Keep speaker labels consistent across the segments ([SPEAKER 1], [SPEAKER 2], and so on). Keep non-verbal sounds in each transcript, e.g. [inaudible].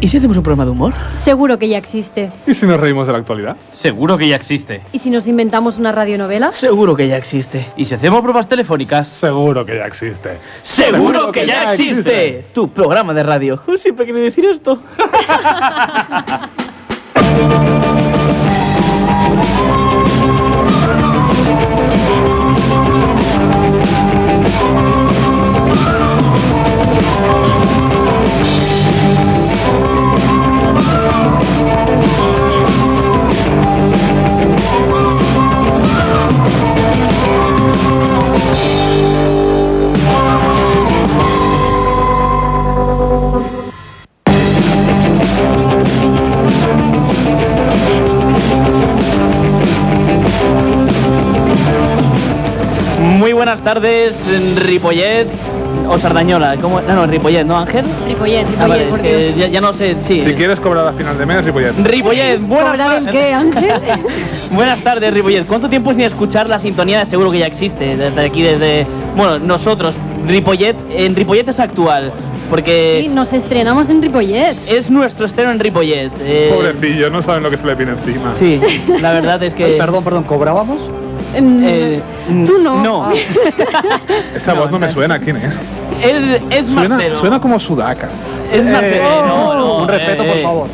[SPEAKER 1] ¿Y si hacemos un programa de humor?
[SPEAKER 2] Seguro que ya existe.
[SPEAKER 3] ¿Y si nos reímos de la actualidad?
[SPEAKER 4] Seguro que ya existe.
[SPEAKER 2] ¿Y si nos inventamos una radionovela?
[SPEAKER 1] Seguro que ya existe.
[SPEAKER 4] ¿Y si hacemos pruebas telefónicas?
[SPEAKER 3] Seguro que ya existe.
[SPEAKER 1] ¡Seguro que ya existe! Tu programa de radio. [laughs] Siempre quería decir esto. [laughs] Muy buenas tardes, Ripollet o Sardañola. ¿Cómo? No, no, Ripollet, ¿no, Ángel?
[SPEAKER 2] Ripollet,
[SPEAKER 1] Ah, vale,
[SPEAKER 2] Ripollet,
[SPEAKER 1] es
[SPEAKER 2] por
[SPEAKER 1] que
[SPEAKER 2] Dios.
[SPEAKER 1] ya, ya no sé, sí.
[SPEAKER 3] Si quieres cobrar a final de mes, Ripollet.
[SPEAKER 1] Ripollet, buenas
[SPEAKER 2] ¿Cobrar el qué,
[SPEAKER 1] tardes. [laughs]
[SPEAKER 2] Ángel?
[SPEAKER 1] Buenas tardes, Ripollet. ¿Cuánto tiempo sin escuchar la sintonía de Seguro que ya existe? Desde aquí, desde. Bueno, nosotros, Ripollet. En Ripollet es actual, porque.
[SPEAKER 2] sí, nos estrenamos en Ripollet.
[SPEAKER 1] Es nuestro estreno en Ripollet. eh,
[SPEAKER 3] Pobrecillo, no saben lo que se le viene encima.
[SPEAKER 1] Sí, la verdad es que.
[SPEAKER 5] Perdón, perdón, ¿cobrábamos?
[SPEAKER 2] Mm,
[SPEAKER 1] eh,
[SPEAKER 2] [laughs] Tú no. Ah.
[SPEAKER 1] No.
[SPEAKER 3] Esa voz no me suena, ¿quién es?
[SPEAKER 1] Él es
[SPEAKER 3] Suena,
[SPEAKER 1] Marcelo.
[SPEAKER 3] suena como Sudaca.
[SPEAKER 1] Es
[SPEAKER 3] Eh,
[SPEAKER 1] Marcelo. no, no,
[SPEAKER 5] Un respeto,
[SPEAKER 1] eh,
[SPEAKER 5] por
[SPEAKER 1] eh.
[SPEAKER 5] favor.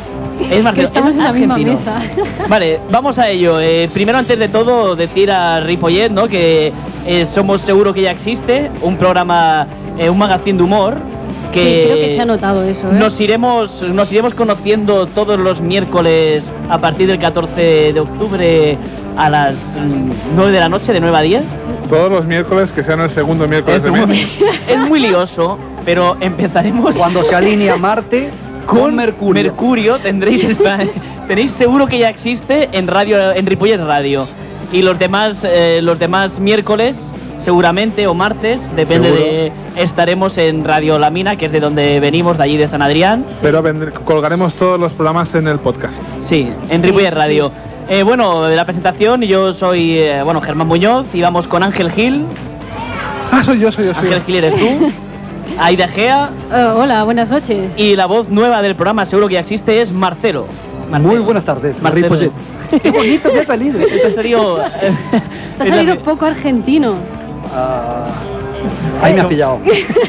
[SPEAKER 1] Es Marcelo.
[SPEAKER 2] Que estamos
[SPEAKER 1] es
[SPEAKER 2] en la misma
[SPEAKER 1] argentino.
[SPEAKER 2] mesa.
[SPEAKER 1] Vale, vamos a ello. Eh, primero, antes de todo, decir a Ripollet, ¿no? Que eh, somos seguro que ya existe un programa, eh, un magazine de humor que.
[SPEAKER 2] [laughs] Sí, creo que se ha notado eso, ¿eh?
[SPEAKER 1] Nos iremos, nos iremos conociendo todos los miércoles a partir del 14 de octubre a las mm, 9 de la noche, de 9 a 10.
[SPEAKER 3] Todos los miércoles, que sean el segundo miércoles
[SPEAKER 1] Es
[SPEAKER 3] de
[SPEAKER 1] muy,
[SPEAKER 3] mes.
[SPEAKER 1] [laughs] es muy lioso, pero empezaremos
[SPEAKER 5] Cuando se alinea Marte con Mercurio.
[SPEAKER 1] Mercurio. Tendréis, el
[SPEAKER 2] [laughs]
[SPEAKER 1] plan- tenéis seguro que ya existe en radio, en Ripollet Radio. Y los demás, eh, los demás miércoles, seguramente o martes, depende
[SPEAKER 3] Seguro.
[SPEAKER 1] de estaremos en Radio La Mina, que es de donde venimos, de allí de San Adrián.
[SPEAKER 3] Pero vend- colgaremos todos los programas en el podcast.
[SPEAKER 1] Sí, en
[SPEAKER 2] Sí,
[SPEAKER 1] Ripollet
[SPEAKER 2] sí,
[SPEAKER 1] Radio.
[SPEAKER 2] sí.
[SPEAKER 1] Eh, bueno, de la presentación, yo soy eh, bueno Germán Muñoz y vamos con Ángel Gil.
[SPEAKER 3] Ah, soy yo, soy yo, soy yo. [laughs]
[SPEAKER 1] Ángel Gil eres tú. Aida Gea.
[SPEAKER 2] Eh, hola, buenas noches.
[SPEAKER 1] Y la voz nueva del programa, seguro que ya existe, es Marcelo.
[SPEAKER 5] Muy
[SPEAKER 1] Marcelo.
[SPEAKER 5] buenas tardes, Pues, eh,
[SPEAKER 1] Marcelo.
[SPEAKER 5] Ripollet. Qué bonito que ha salido.
[SPEAKER 1] En
[SPEAKER 5] [laughs]
[SPEAKER 1] serio, eh,
[SPEAKER 2] Te ha salido poco argentino.
[SPEAKER 5] Ah, ahí me has [laughs] pillado.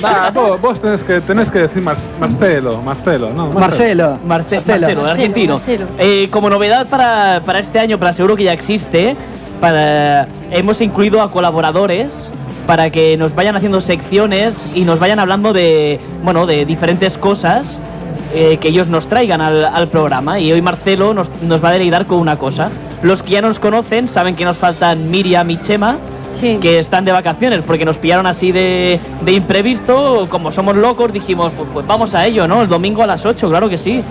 [SPEAKER 3] Va, vos, Ah, vos tenés, que, tenés que decir Mar- Marcelo, Marcelo, ¿no?
[SPEAKER 5] Marcelo.
[SPEAKER 1] Marce- Marcelo,
[SPEAKER 2] Marcelo,
[SPEAKER 1] argentino.
[SPEAKER 2] Marcelo.
[SPEAKER 1] Eh, como novedad para, para este año, para seguro que ya existe, para, hemos incluido a colaboradores para que nos vayan haciendo secciones y nos vayan hablando de, bueno, de diferentes cosas eh, que ellos nos traigan al, al programa. Y hoy Marcelo nos, nos va a deleitar con una cosa. Los que ya nos conocen saben que nos faltan Miriam y Chema,
[SPEAKER 2] Sí.
[SPEAKER 1] que están de vacaciones porque nos pillaron así de, de imprevisto. Como somos locos, dijimos, pues, pues vamos a ello, ¿no? El domingo a las 8, claro que sí.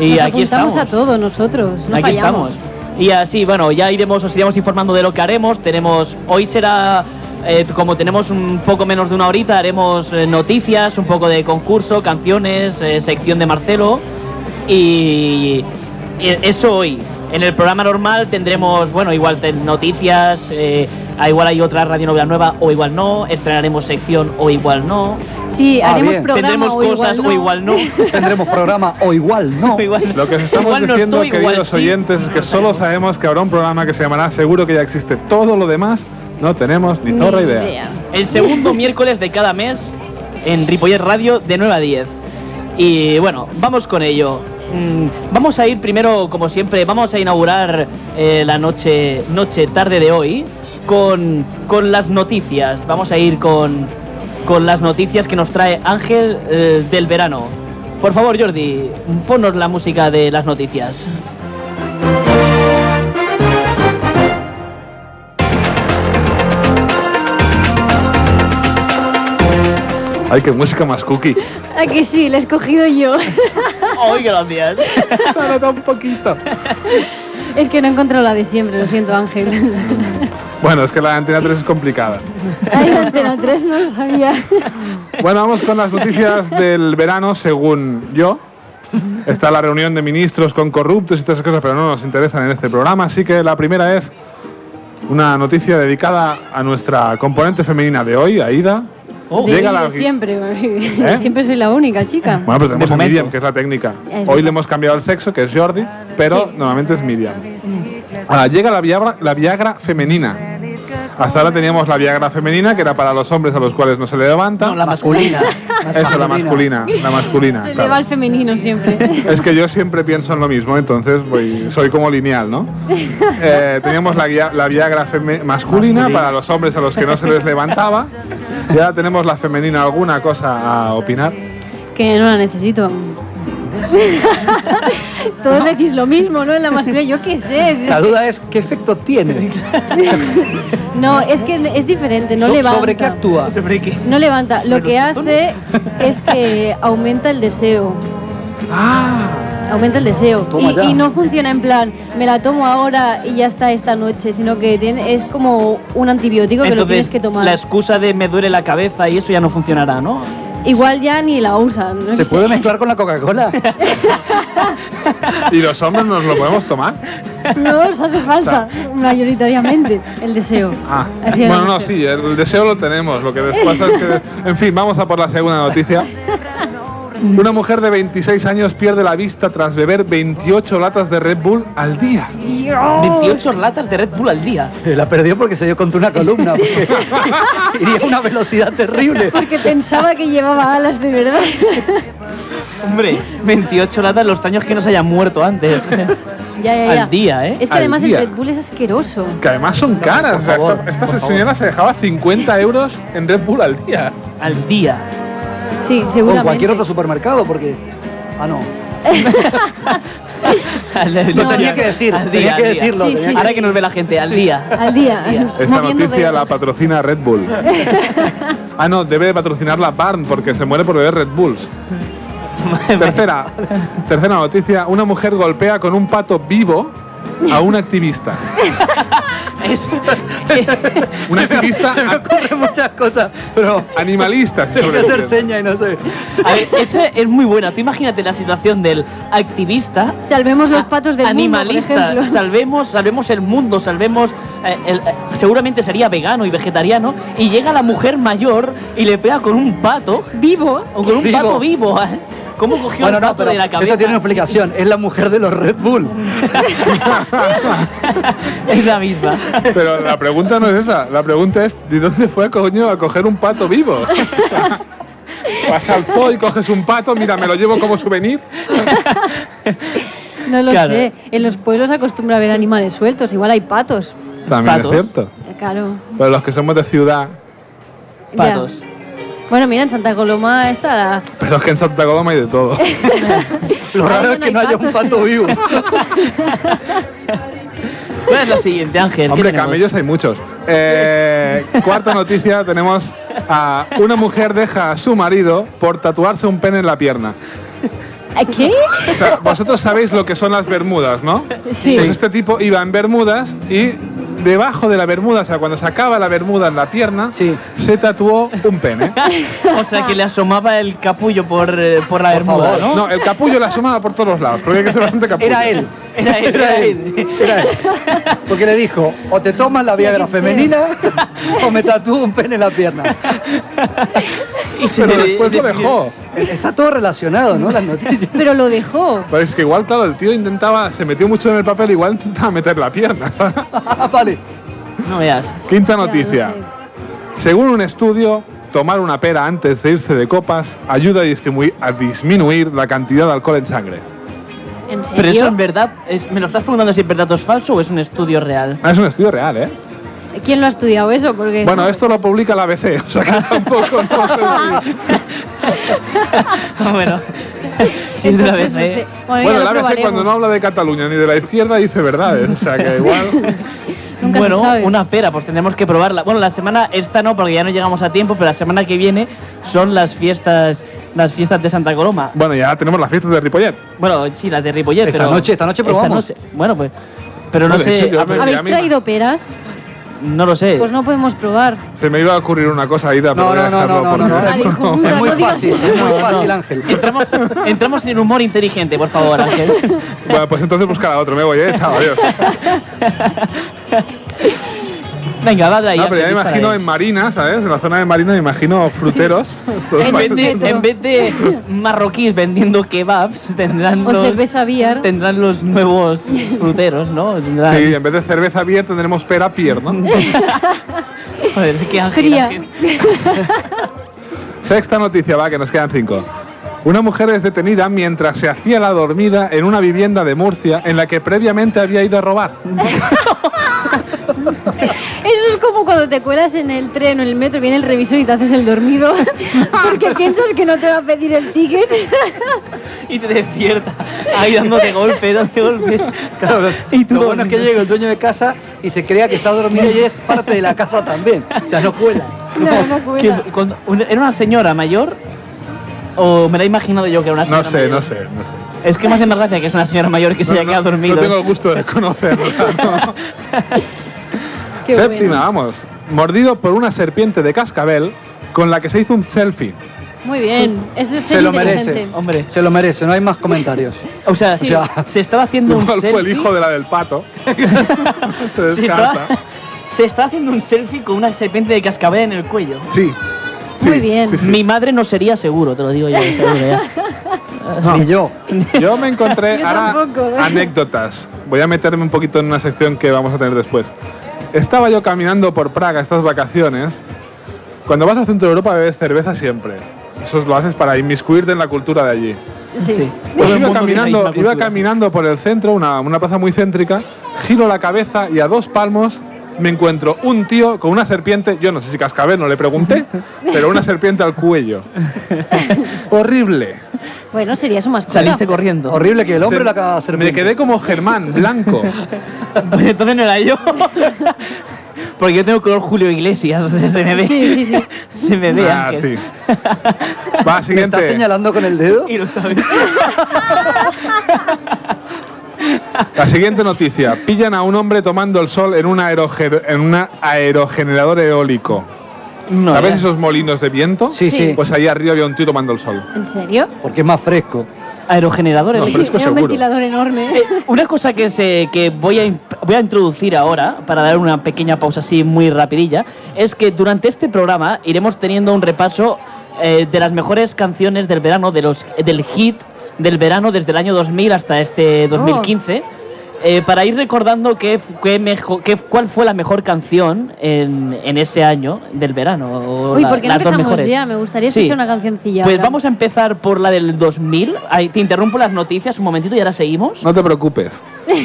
[SPEAKER 1] Y
[SPEAKER 2] Nos
[SPEAKER 1] aquí
[SPEAKER 2] apuntamos
[SPEAKER 1] estamos.
[SPEAKER 2] a todo nosotros. No
[SPEAKER 1] aquí
[SPEAKER 2] fallamos.
[SPEAKER 1] estamos. Y así, bueno, ya iremos, os iremos informando de lo que haremos. Tenemos, hoy será, eh, como tenemos un poco menos de una horita, haremos eh, noticias, un poco de concurso, canciones, eh, sección de Marcelo. Y y eso hoy. En el programa normal tendremos, bueno, igual te- noticias, eh, ah, igual hay otra radionovela nueva o igual no, estrenaremos sección o igual no,
[SPEAKER 2] Sí,
[SPEAKER 5] Ah,
[SPEAKER 2] haremos
[SPEAKER 5] bien.
[SPEAKER 2] programa
[SPEAKER 1] tendremos
[SPEAKER 2] o
[SPEAKER 1] cosas
[SPEAKER 2] igual no.
[SPEAKER 1] o igual
[SPEAKER 2] [laughs]
[SPEAKER 1] no.
[SPEAKER 5] ¿eh? Tendremos programa o [laughs] igual no.
[SPEAKER 1] o igual no.
[SPEAKER 3] Lo que os estamos
[SPEAKER 1] Igual no
[SPEAKER 3] diciendo,
[SPEAKER 1] estoy, igual
[SPEAKER 3] queridos
[SPEAKER 1] sí.
[SPEAKER 3] oyentes, es que
[SPEAKER 1] No
[SPEAKER 3] solo
[SPEAKER 1] sabemos.
[SPEAKER 3] sabemos que habrá un programa que se llamará Seguro que ya existe. Todo lo demás no tenemos ni
[SPEAKER 2] Ni
[SPEAKER 3] zorra idea.
[SPEAKER 1] El
[SPEAKER 2] [laughs]
[SPEAKER 1] segundo miércoles de cada mes en Ripollet Radio de 9 a 10. Y bueno, vamos con ello. Mm, Vamos a ir primero, como siempre, vamos a inaugurar eh, la noche, noche tarde de hoy con, con las noticias. Vamos a ir con, con las noticias que nos trae Ángel eh, del verano. Por favor, Jordi, ponnos la música de las noticias.
[SPEAKER 3] Ay, qué música más [laughs] cookie.
[SPEAKER 2] ¿A Ah, que sí? La he escogido yo.
[SPEAKER 1] [laughs]
[SPEAKER 2] [laughs]
[SPEAKER 1] ¡Ay, gracias!
[SPEAKER 3] Tarda un poquito.
[SPEAKER 2] es que no he encontrado la de siempre, lo siento, Ángel.
[SPEAKER 3] Bueno, es que la antena 3 es complicada.
[SPEAKER 2] Ay, Antena 3 no lo sabía.
[SPEAKER 3] Bueno, vamos con las noticias del verano, según yo. Está la reunión de ministros con corruptos y todas esas cosas, pero no nos interesan en este programa. Así que la primera es una noticia dedicada a nuestra componente femenina de hoy, Aida,
[SPEAKER 1] Oh.
[SPEAKER 2] De
[SPEAKER 3] Llega la-
[SPEAKER 2] ello siempre.
[SPEAKER 3] ¿Eh?
[SPEAKER 2] [laughs] Siempre soy la única chica.
[SPEAKER 3] Bueno, pero tenemos
[SPEAKER 1] De
[SPEAKER 3] a
[SPEAKER 1] momento.
[SPEAKER 3] Miriam, que es la técnica.
[SPEAKER 2] Es verdad.
[SPEAKER 3] Hoy le hemos cambiado el sexo, que es Jordi, pero normalmente es Miriam. Ahora, llega la Viagra, la Viagra femenina. Hasta ahora teníamos la Viagra femenina, que era para los hombres a los cuales no se le levanta.
[SPEAKER 1] No, la masculina.
[SPEAKER 5] Masculina.
[SPEAKER 3] Eso, la masculina. La masculina.
[SPEAKER 2] Se le
[SPEAKER 3] claro.
[SPEAKER 2] va al femenino siempre. [laughs]
[SPEAKER 3] Es que yo siempre pienso en lo mismo, entonces voy- soy como
[SPEAKER 2] [laughs]
[SPEAKER 3] lineal, ¿no? Eh, teníamos la, guia- la Viagra feme- masculina para los hombres a los que no se les levantaba. Y ahora tenemos la femenina. ¿Alguna cosa a opinar?
[SPEAKER 2] que no la necesito. [laughs] Todos decís lo mismo, ¿no? En la masculina, yo qué sé. es-
[SPEAKER 5] La duda es, ¿qué efecto tiene?
[SPEAKER 2] No, es que es diferente, no
[SPEAKER 5] So-
[SPEAKER 2] levanta.
[SPEAKER 5] ¿Sobre qué actúa?
[SPEAKER 1] ¿Sobre qué?
[SPEAKER 2] No levanta. Lo
[SPEAKER 1] ¿Sobre
[SPEAKER 2] que
[SPEAKER 1] los
[SPEAKER 2] hace es que aumenta el deseo. Aumenta el deseo.
[SPEAKER 5] Toma
[SPEAKER 2] Y,
[SPEAKER 5] ya.
[SPEAKER 2] y no funciona en plan, me la tomo ahora y ya está esta noche, sino que tiene- es como un antibiótico que lo tienes
[SPEAKER 1] Entonces,
[SPEAKER 2] que tomar.
[SPEAKER 1] la excusa de me duele la cabeza y eso ya no funcionará, ¿no?
[SPEAKER 2] Igual ya ni la usan. no
[SPEAKER 5] ¿Se
[SPEAKER 2] sé.
[SPEAKER 5] puede mezclar con la Coca-Cola? [laughs]
[SPEAKER 3] ¿Y los hombres nos lo podemos tomar?
[SPEAKER 2] [laughs] No os hace falta, mayoritariamente, el deseo.
[SPEAKER 3] Ah,
[SPEAKER 2] Hacia la
[SPEAKER 3] bueno, no,
[SPEAKER 2] mujer.
[SPEAKER 3] sí, el deseo lo tenemos. Lo que les pasa es que. En fin, vamos a por la segunda noticia. Una mujer de 26 años pierde la vista tras beber 28 latas de Red Bull al día.
[SPEAKER 2] Dios.
[SPEAKER 1] 28 latas de Red Bull al día.
[SPEAKER 5] Eh, La perdió porque se dio contra una [laughs] columna. porque Iría a una velocidad terrible.
[SPEAKER 2] Porque pensaba que llevaba alas de verdad. [laughs]
[SPEAKER 1] Hombre, 28 latas los años que no se hayan muerto
[SPEAKER 5] [laughs]
[SPEAKER 1] antes.
[SPEAKER 2] ya, ya, ya.
[SPEAKER 1] Al día, ¿eh?
[SPEAKER 2] Es que
[SPEAKER 3] Al
[SPEAKER 2] además
[SPEAKER 3] día.
[SPEAKER 2] el Red Bull es asqueroso.
[SPEAKER 3] Que además son caras.
[SPEAKER 5] por
[SPEAKER 3] o sea,
[SPEAKER 5] favor,
[SPEAKER 3] esta esta
[SPEAKER 5] por favor.
[SPEAKER 3] señora se dejaba 50 euros en Red Bull al día.
[SPEAKER 1] Al día.
[SPEAKER 2] Sí, seguramente.
[SPEAKER 5] Con cualquier otro supermercado, porque. Ah, no.
[SPEAKER 1] Al-
[SPEAKER 5] Lo tenía que decir,
[SPEAKER 1] al día,
[SPEAKER 5] tenía que
[SPEAKER 1] al día.
[SPEAKER 5] decirlo.
[SPEAKER 2] Sí,
[SPEAKER 5] tenía
[SPEAKER 2] sí,
[SPEAKER 5] que-
[SPEAKER 1] Ahora que nos ve la gente, al día.
[SPEAKER 2] Al día.
[SPEAKER 1] Al día.
[SPEAKER 3] Esta
[SPEAKER 2] moviendo
[SPEAKER 3] noticia la
[SPEAKER 2] dedos.
[SPEAKER 3] patrocina Red
[SPEAKER 2] [laughs]
[SPEAKER 3] Bull. ah, no, debe de patrocinarla Barn porque se muere por beber Red Bulls.
[SPEAKER 1] [laughs]
[SPEAKER 3] Tercera, tercera noticia. Una mujer golpea con un pato vivo a un activista.
[SPEAKER 1] Es- eh,
[SPEAKER 2] [laughs]
[SPEAKER 3] Un activista
[SPEAKER 5] Se [laughs] me
[SPEAKER 3] a-
[SPEAKER 5] ocurren muchas cosas, pero. [laughs]
[SPEAKER 3] animalista. si
[SPEAKER 5] Tengo que hacer
[SPEAKER 3] sobrevive.
[SPEAKER 5] seña y no sé.
[SPEAKER 1] [laughs] a ver, esa es muy buena. Tú imagínate la situación del activista
[SPEAKER 2] Salvemos los patos del
[SPEAKER 1] animalista,
[SPEAKER 2] mundo, por ejemplo.
[SPEAKER 1] salvemos, salvemos el mundo, salvemos. eh, el- eh, seguramente sería vegano y vegetariano. Y llega la mujer mayor y le pega con un pato,
[SPEAKER 2] Vivo.
[SPEAKER 1] o con un
[SPEAKER 5] Vivo.
[SPEAKER 1] pato vivo. ¿eh? ¿Cómo cogió
[SPEAKER 5] Bueno,
[SPEAKER 1] el
[SPEAKER 5] no,
[SPEAKER 1] pato
[SPEAKER 5] pero
[SPEAKER 1] de la cabeza?
[SPEAKER 5] esto tiene una explicación. Es la mujer de los Red Bull.
[SPEAKER 1] [laughs] es la misma.
[SPEAKER 3] Pero la pregunta no es esa. La pregunta es: ¿de dónde fue coño a coger un pato vivo? Vas al zoo y coges un pato, mira, me lo llevo como souvenir.
[SPEAKER 2] No lo
[SPEAKER 1] Claro.
[SPEAKER 2] sé. En los pueblos acostumbra a ver animales sueltos. Igual hay patos.
[SPEAKER 3] También
[SPEAKER 1] Patos.
[SPEAKER 3] es cierto.
[SPEAKER 2] Eh, Claro.
[SPEAKER 3] Pero los que somos de ciudad.
[SPEAKER 2] Ya.
[SPEAKER 1] Patos.
[SPEAKER 2] Bueno, mira, en Santa Coloma está la...
[SPEAKER 3] Pero es que en Santa Coloma hay de todo.
[SPEAKER 5] Lo
[SPEAKER 2] Ahí
[SPEAKER 5] raro
[SPEAKER 2] no
[SPEAKER 5] es que
[SPEAKER 2] hay
[SPEAKER 5] no haya
[SPEAKER 2] patos.
[SPEAKER 5] un pato
[SPEAKER 1] [laughs]
[SPEAKER 5] vivo.
[SPEAKER 1] ¿Cuál es la siguiente, Ángel? ¿Qué
[SPEAKER 3] Hombre,
[SPEAKER 1] tenemos? [laughs]
[SPEAKER 3] camellos hay muchos. Eh, cuarta noticia: tenemos a una mujer deja a su marido por tatuarse un pene en la pierna.
[SPEAKER 2] ¿Eh, ¿Qué?
[SPEAKER 3] O sea, vosotros sabéis lo que son las bermudas, ¿no?
[SPEAKER 2] Sí.
[SPEAKER 3] Pues este tipo iba en bermudas y debajo de la bermuda, o sea, cuando sacaba la bermuda en la pierna,
[SPEAKER 5] Sí.
[SPEAKER 3] se tatuó un pene.
[SPEAKER 1] O sea, que le asomaba el capullo por, eh, por la
[SPEAKER 5] Por
[SPEAKER 1] bermuda,
[SPEAKER 2] [laughs]
[SPEAKER 5] favor.
[SPEAKER 1] ¿no?
[SPEAKER 3] No, el capullo la asomaba por todos los lados, porque hay que ser bastante capullo.
[SPEAKER 5] Era él.
[SPEAKER 1] Era él, era él.
[SPEAKER 5] Era él. Porque le dijo, o te tomas la Viagra
[SPEAKER 2] Qué feo.
[SPEAKER 5] femenina [laughs] o me tatúo un pene en la pierna.
[SPEAKER 1] Y se
[SPEAKER 3] Pero
[SPEAKER 1] le-
[SPEAKER 3] después lo dejó.
[SPEAKER 5] Está todo relacionado, ¿no? Las noticias. [laughs]
[SPEAKER 2] Pero lo dejó.
[SPEAKER 3] Pero Pues es que igual, claro, el tío intentaba, se metió mucho en el papel, igual intentaba meter la pierna.
[SPEAKER 2] [laughs]
[SPEAKER 3] ¿sabes?
[SPEAKER 5] Ah, vale.
[SPEAKER 1] No veas.
[SPEAKER 3] Quinta
[SPEAKER 2] Ya, no
[SPEAKER 3] noticia.
[SPEAKER 2] sé.
[SPEAKER 3] Según un estudio, tomar una pera antes de irse de copas ayuda a, disminuir- a disminuir la cantidad de alcohol en sangre.
[SPEAKER 2] ¿En serio?
[SPEAKER 1] Pero eso en verdad, es- ¿me lo estás preguntando si en verdad es falso o es un estudio
[SPEAKER 2] [laughs]
[SPEAKER 1] real?
[SPEAKER 3] Ah, es un estudio real, ¿eh?
[SPEAKER 2] ¿Quién lo ha estudiado eso? Porque
[SPEAKER 3] Bueno, esto lo publica la ABC, o sea que tampoco no sé si-
[SPEAKER 1] [laughs] bueno, si es de la
[SPEAKER 2] Ah, Entonces, no
[SPEAKER 1] vez,
[SPEAKER 2] sé.
[SPEAKER 1] ¿eh?
[SPEAKER 2] Bueno,
[SPEAKER 3] Bueno,
[SPEAKER 2] ya
[SPEAKER 3] la
[SPEAKER 2] lo
[SPEAKER 3] ABC cuando no
[SPEAKER 2] probaremos.
[SPEAKER 3] habla de Cataluña ni de la izquierda dice verdades, o sea que igual...
[SPEAKER 2] Nunca se
[SPEAKER 1] bueno,
[SPEAKER 2] sabe.
[SPEAKER 1] una pera, pues tendremos que probarla. Bueno, la semana esta no, porque ya no llegamos a tiempo, pero la semana que viene son las fiestas, las fiestas de Santa Coloma.
[SPEAKER 3] Bueno, ya tenemos las fiestas de Ripollet.
[SPEAKER 1] Bueno, sí, las de Ripollet,
[SPEAKER 5] Esta
[SPEAKER 1] pero
[SPEAKER 5] noche, esta noche probamos.
[SPEAKER 1] noche- bueno, pues, pero no
[SPEAKER 3] Bueno,
[SPEAKER 1] sé,
[SPEAKER 3] de
[SPEAKER 1] ah,
[SPEAKER 3] hecho, yo me-
[SPEAKER 2] ¿Habéis
[SPEAKER 3] a mí-
[SPEAKER 2] traído peras?
[SPEAKER 1] no lo sé.
[SPEAKER 2] Pues no podemos probar.
[SPEAKER 3] Se me iba a ocurrir una cosa, Aida, pero
[SPEAKER 5] No,
[SPEAKER 3] voy a
[SPEAKER 5] no, no,
[SPEAKER 3] dejarlo
[SPEAKER 5] no, no,
[SPEAKER 3] porque
[SPEAKER 5] no,
[SPEAKER 3] eso
[SPEAKER 2] no.
[SPEAKER 3] no-
[SPEAKER 5] Es
[SPEAKER 2] Jura,
[SPEAKER 5] muy
[SPEAKER 2] no digas
[SPEAKER 5] fácil,
[SPEAKER 2] eso.
[SPEAKER 5] es muy
[SPEAKER 2] No,
[SPEAKER 5] fácil, Ángel.
[SPEAKER 1] Entramos, entramos en humor inteligente, por favor, Ángel.
[SPEAKER 5] [laughs]
[SPEAKER 3] Bueno, pues entonces buscar a otro, me voy, eh, chao, adiós.
[SPEAKER 1] Venga, va de ahí.
[SPEAKER 3] No, pero ya me
[SPEAKER 1] Ángel,
[SPEAKER 3] imagino
[SPEAKER 1] dispara
[SPEAKER 3] en Marina, ¿sabes? En la zona de Marina me imagino fruteros. Todos
[SPEAKER 1] En
[SPEAKER 2] En
[SPEAKER 1] vez,
[SPEAKER 2] un
[SPEAKER 1] de,
[SPEAKER 2] metro.
[SPEAKER 1] en vez de marroquíes vendiendo kebabs, tendrán
[SPEAKER 2] O
[SPEAKER 1] los,
[SPEAKER 2] cerveza biar.
[SPEAKER 1] tendrán los nuevos fruteros, ¿no? Tendrán-
[SPEAKER 3] Sí, en vez de cerveza abierta tendremos pera pier, ¿no?
[SPEAKER 1] Joder, qué ángel,
[SPEAKER 2] Fría.
[SPEAKER 1] Ángel.
[SPEAKER 3] Sexta noticia, va, que nos quedan cinco. Una mujer es detenida mientras se hacía la dormida en una vivienda de Murcia en la que previamente había ido a robar.
[SPEAKER 2] Eso es como cuando te cuelas en el tren o en el metro, viene el revisor y te haces el dormido [laughs] porque piensas que no te va a pedir el ticket.
[SPEAKER 1] Y te despierta ahí dándote golpes, dándote golpes.
[SPEAKER 5] Claro,
[SPEAKER 1] y tú
[SPEAKER 5] lo bueno es que
[SPEAKER 1] dormido.
[SPEAKER 5] llega el dueño de casa y se crea que está dormido y es parte de la casa también. O sea, no cuela.
[SPEAKER 2] No, no
[SPEAKER 1] ¿Qué-
[SPEAKER 2] cuela.
[SPEAKER 1] cuando- un- ¿Era una señora mayor? ¿O me Ah, la he imaginado yo que era una señora
[SPEAKER 3] No sé,
[SPEAKER 1] mayor?
[SPEAKER 3] no sé, no sé.
[SPEAKER 1] Es que me hace más gracia que es una señora mayor que se haya
[SPEAKER 3] No,
[SPEAKER 1] quedado
[SPEAKER 3] no,
[SPEAKER 1] dormida.
[SPEAKER 3] No tengo el gusto
[SPEAKER 1] [laughs]
[SPEAKER 3] de conocerla. ¿no?
[SPEAKER 2] Qué
[SPEAKER 3] Séptima,
[SPEAKER 2] bueno.
[SPEAKER 3] vamos. Mordido por una serpiente de cascabel con la que se hizo un selfie.
[SPEAKER 2] Muy bien. Eso es
[SPEAKER 5] Se
[SPEAKER 2] ser
[SPEAKER 5] lo merece.
[SPEAKER 2] inteligente.
[SPEAKER 1] Hombre,
[SPEAKER 5] Se lo merece, no hay más comentarios.
[SPEAKER 1] o sea,
[SPEAKER 2] Sí.
[SPEAKER 1] o sea, se estaba haciendo un
[SPEAKER 3] Igual
[SPEAKER 1] selfie.
[SPEAKER 3] fue el hijo de la del
[SPEAKER 1] [laughs]
[SPEAKER 3] pato. se
[SPEAKER 1] se, estaba,
[SPEAKER 3] descarta.
[SPEAKER 1] se está haciendo un selfie con una serpiente de cascabel en el cuello.
[SPEAKER 3] Sí.
[SPEAKER 2] Muy
[SPEAKER 3] sí,
[SPEAKER 2] bien.
[SPEAKER 3] sí, sí.
[SPEAKER 1] Mi madre no sería seguro, te lo digo yo. seguro
[SPEAKER 2] [laughs]
[SPEAKER 1] ya.
[SPEAKER 5] Ni yo.
[SPEAKER 3] Yo me encontré
[SPEAKER 2] Yo
[SPEAKER 3] ahora
[SPEAKER 2] tampoco, ¿eh?
[SPEAKER 3] anécdotas. Voy a meterme un poquito en una sección que vamos a tener después. Estaba yo caminando por Praga estas vacaciones. Cuando vas al centro de Europa bebes cerveza siempre. Eso lo haces para inmiscuirte en la cultura de allí.
[SPEAKER 2] Sí.
[SPEAKER 3] Pues
[SPEAKER 1] Todo el mundo
[SPEAKER 3] iba
[SPEAKER 1] tiene la misma
[SPEAKER 3] caminando, iba
[SPEAKER 1] cultura.
[SPEAKER 3] caminando por el centro, una, una plaza muy céntrica, giro la cabeza y a dos palmos me encuentro un tío con una serpiente, yo no sé si cascabel, no
[SPEAKER 1] [laughs]
[SPEAKER 3] le pregunté, pero una serpiente al cuello. Horrible.
[SPEAKER 2] Bueno, sería su mascota.
[SPEAKER 1] Saliste corriendo.
[SPEAKER 5] Horrible que el hombre
[SPEAKER 3] Se-
[SPEAKER 5] la acaba de hacer.
[SPEAKER 3] Me quedé como Germán,
[SPEAKER 5] [laughs]
[SPEAKER 3] blanco.
[SPEAKER 1] Pues [laughs] entonces no era
[SPEAKER 3] [laughs]
[SPEAKER 1] yo. Porque yo tengo color Julio Iglesias, o sea, se me ve.
[SPEAKER 2] Sí, sí, sí.
[SPEAKER 1] Se me ve.
[SPEAKER 3] Ah,
[SPEAKER 1] Ángel.
[SPEAKER 5] [laughs]
[SPEAKER 3] sí. Va,
[SPEAKER 5] ¿Me estás
[SPEAKER 3] siguiente.
[SPEAKER 5] señalando con el dedo?
[SPEAKER 1] Y lo sabes.
[SPEAKER 3] La siguiente noticia. Pillan a un hombre tomando el sol en un, aeroge- en un aerogenerador eólico.
[SPEAKER 1] No,
[SPEAKER 3] ¿Sabes
[SPEAKER 1] ya.
[SPEAKER 3] esos molinos de viento?
[SPEAKER 5] Sí, sí.
[SPEAKER 2] Sí.
[SPEAKER 3] Pues ahí arriba había un tío tomando el sol.
[SPEAKER 2] ¿En serio?
[SPEAKER 5] Porque es más fresco.
[SPEAKER 1] Aerogeneradores.
[SPEAKER 3] No,
[SPEAKER 2] Sí,
[SPEAKER 3] pero es que
[SPEAKER 2] era un
[SPEAKER 3] seguro.
[SPEAKER 2] ventilador enorme.
[SPEAKER 1] Eh, Una cosa que, se, que voy, a, imp- voy a introducir ahora, para dar una pequeña pausa así muy rapidilla, es que durante este programa iremos teniendo un repaso eh, de las mejores canciones del verano, de los, del hit del verano desde el año 2000 hasta este 2015,
[SPEAKER 2] Oh.
[SPEAKER 1] eh, para ir recordando qué, f- qué mejo- qué- cuál fue la mejor canción en, en ese año del verano. o
[SPEAKER 2] Uy,
[SPEAKER 1] la-
[SPEAKER 2] ¿por qué no
[SPEAKER 1] las dos
[SPEAKER 2] empezamos
[SPEAKER 1] mejores.
[SPEAKER 2] ya? Me gustaría
[SPEAKER 1] Sí.
[SPEAKER 2] escuchar una cancioncilla.
[SPEAKER 1] Pues
[SPEAKER 2] ahora.
[SPEAKER 1] vamos a empezar por la del 2000. Ahí, te interrumpo las noticias un momentito y ahora seguimos.
[SPEAKER 3] No te preocupes.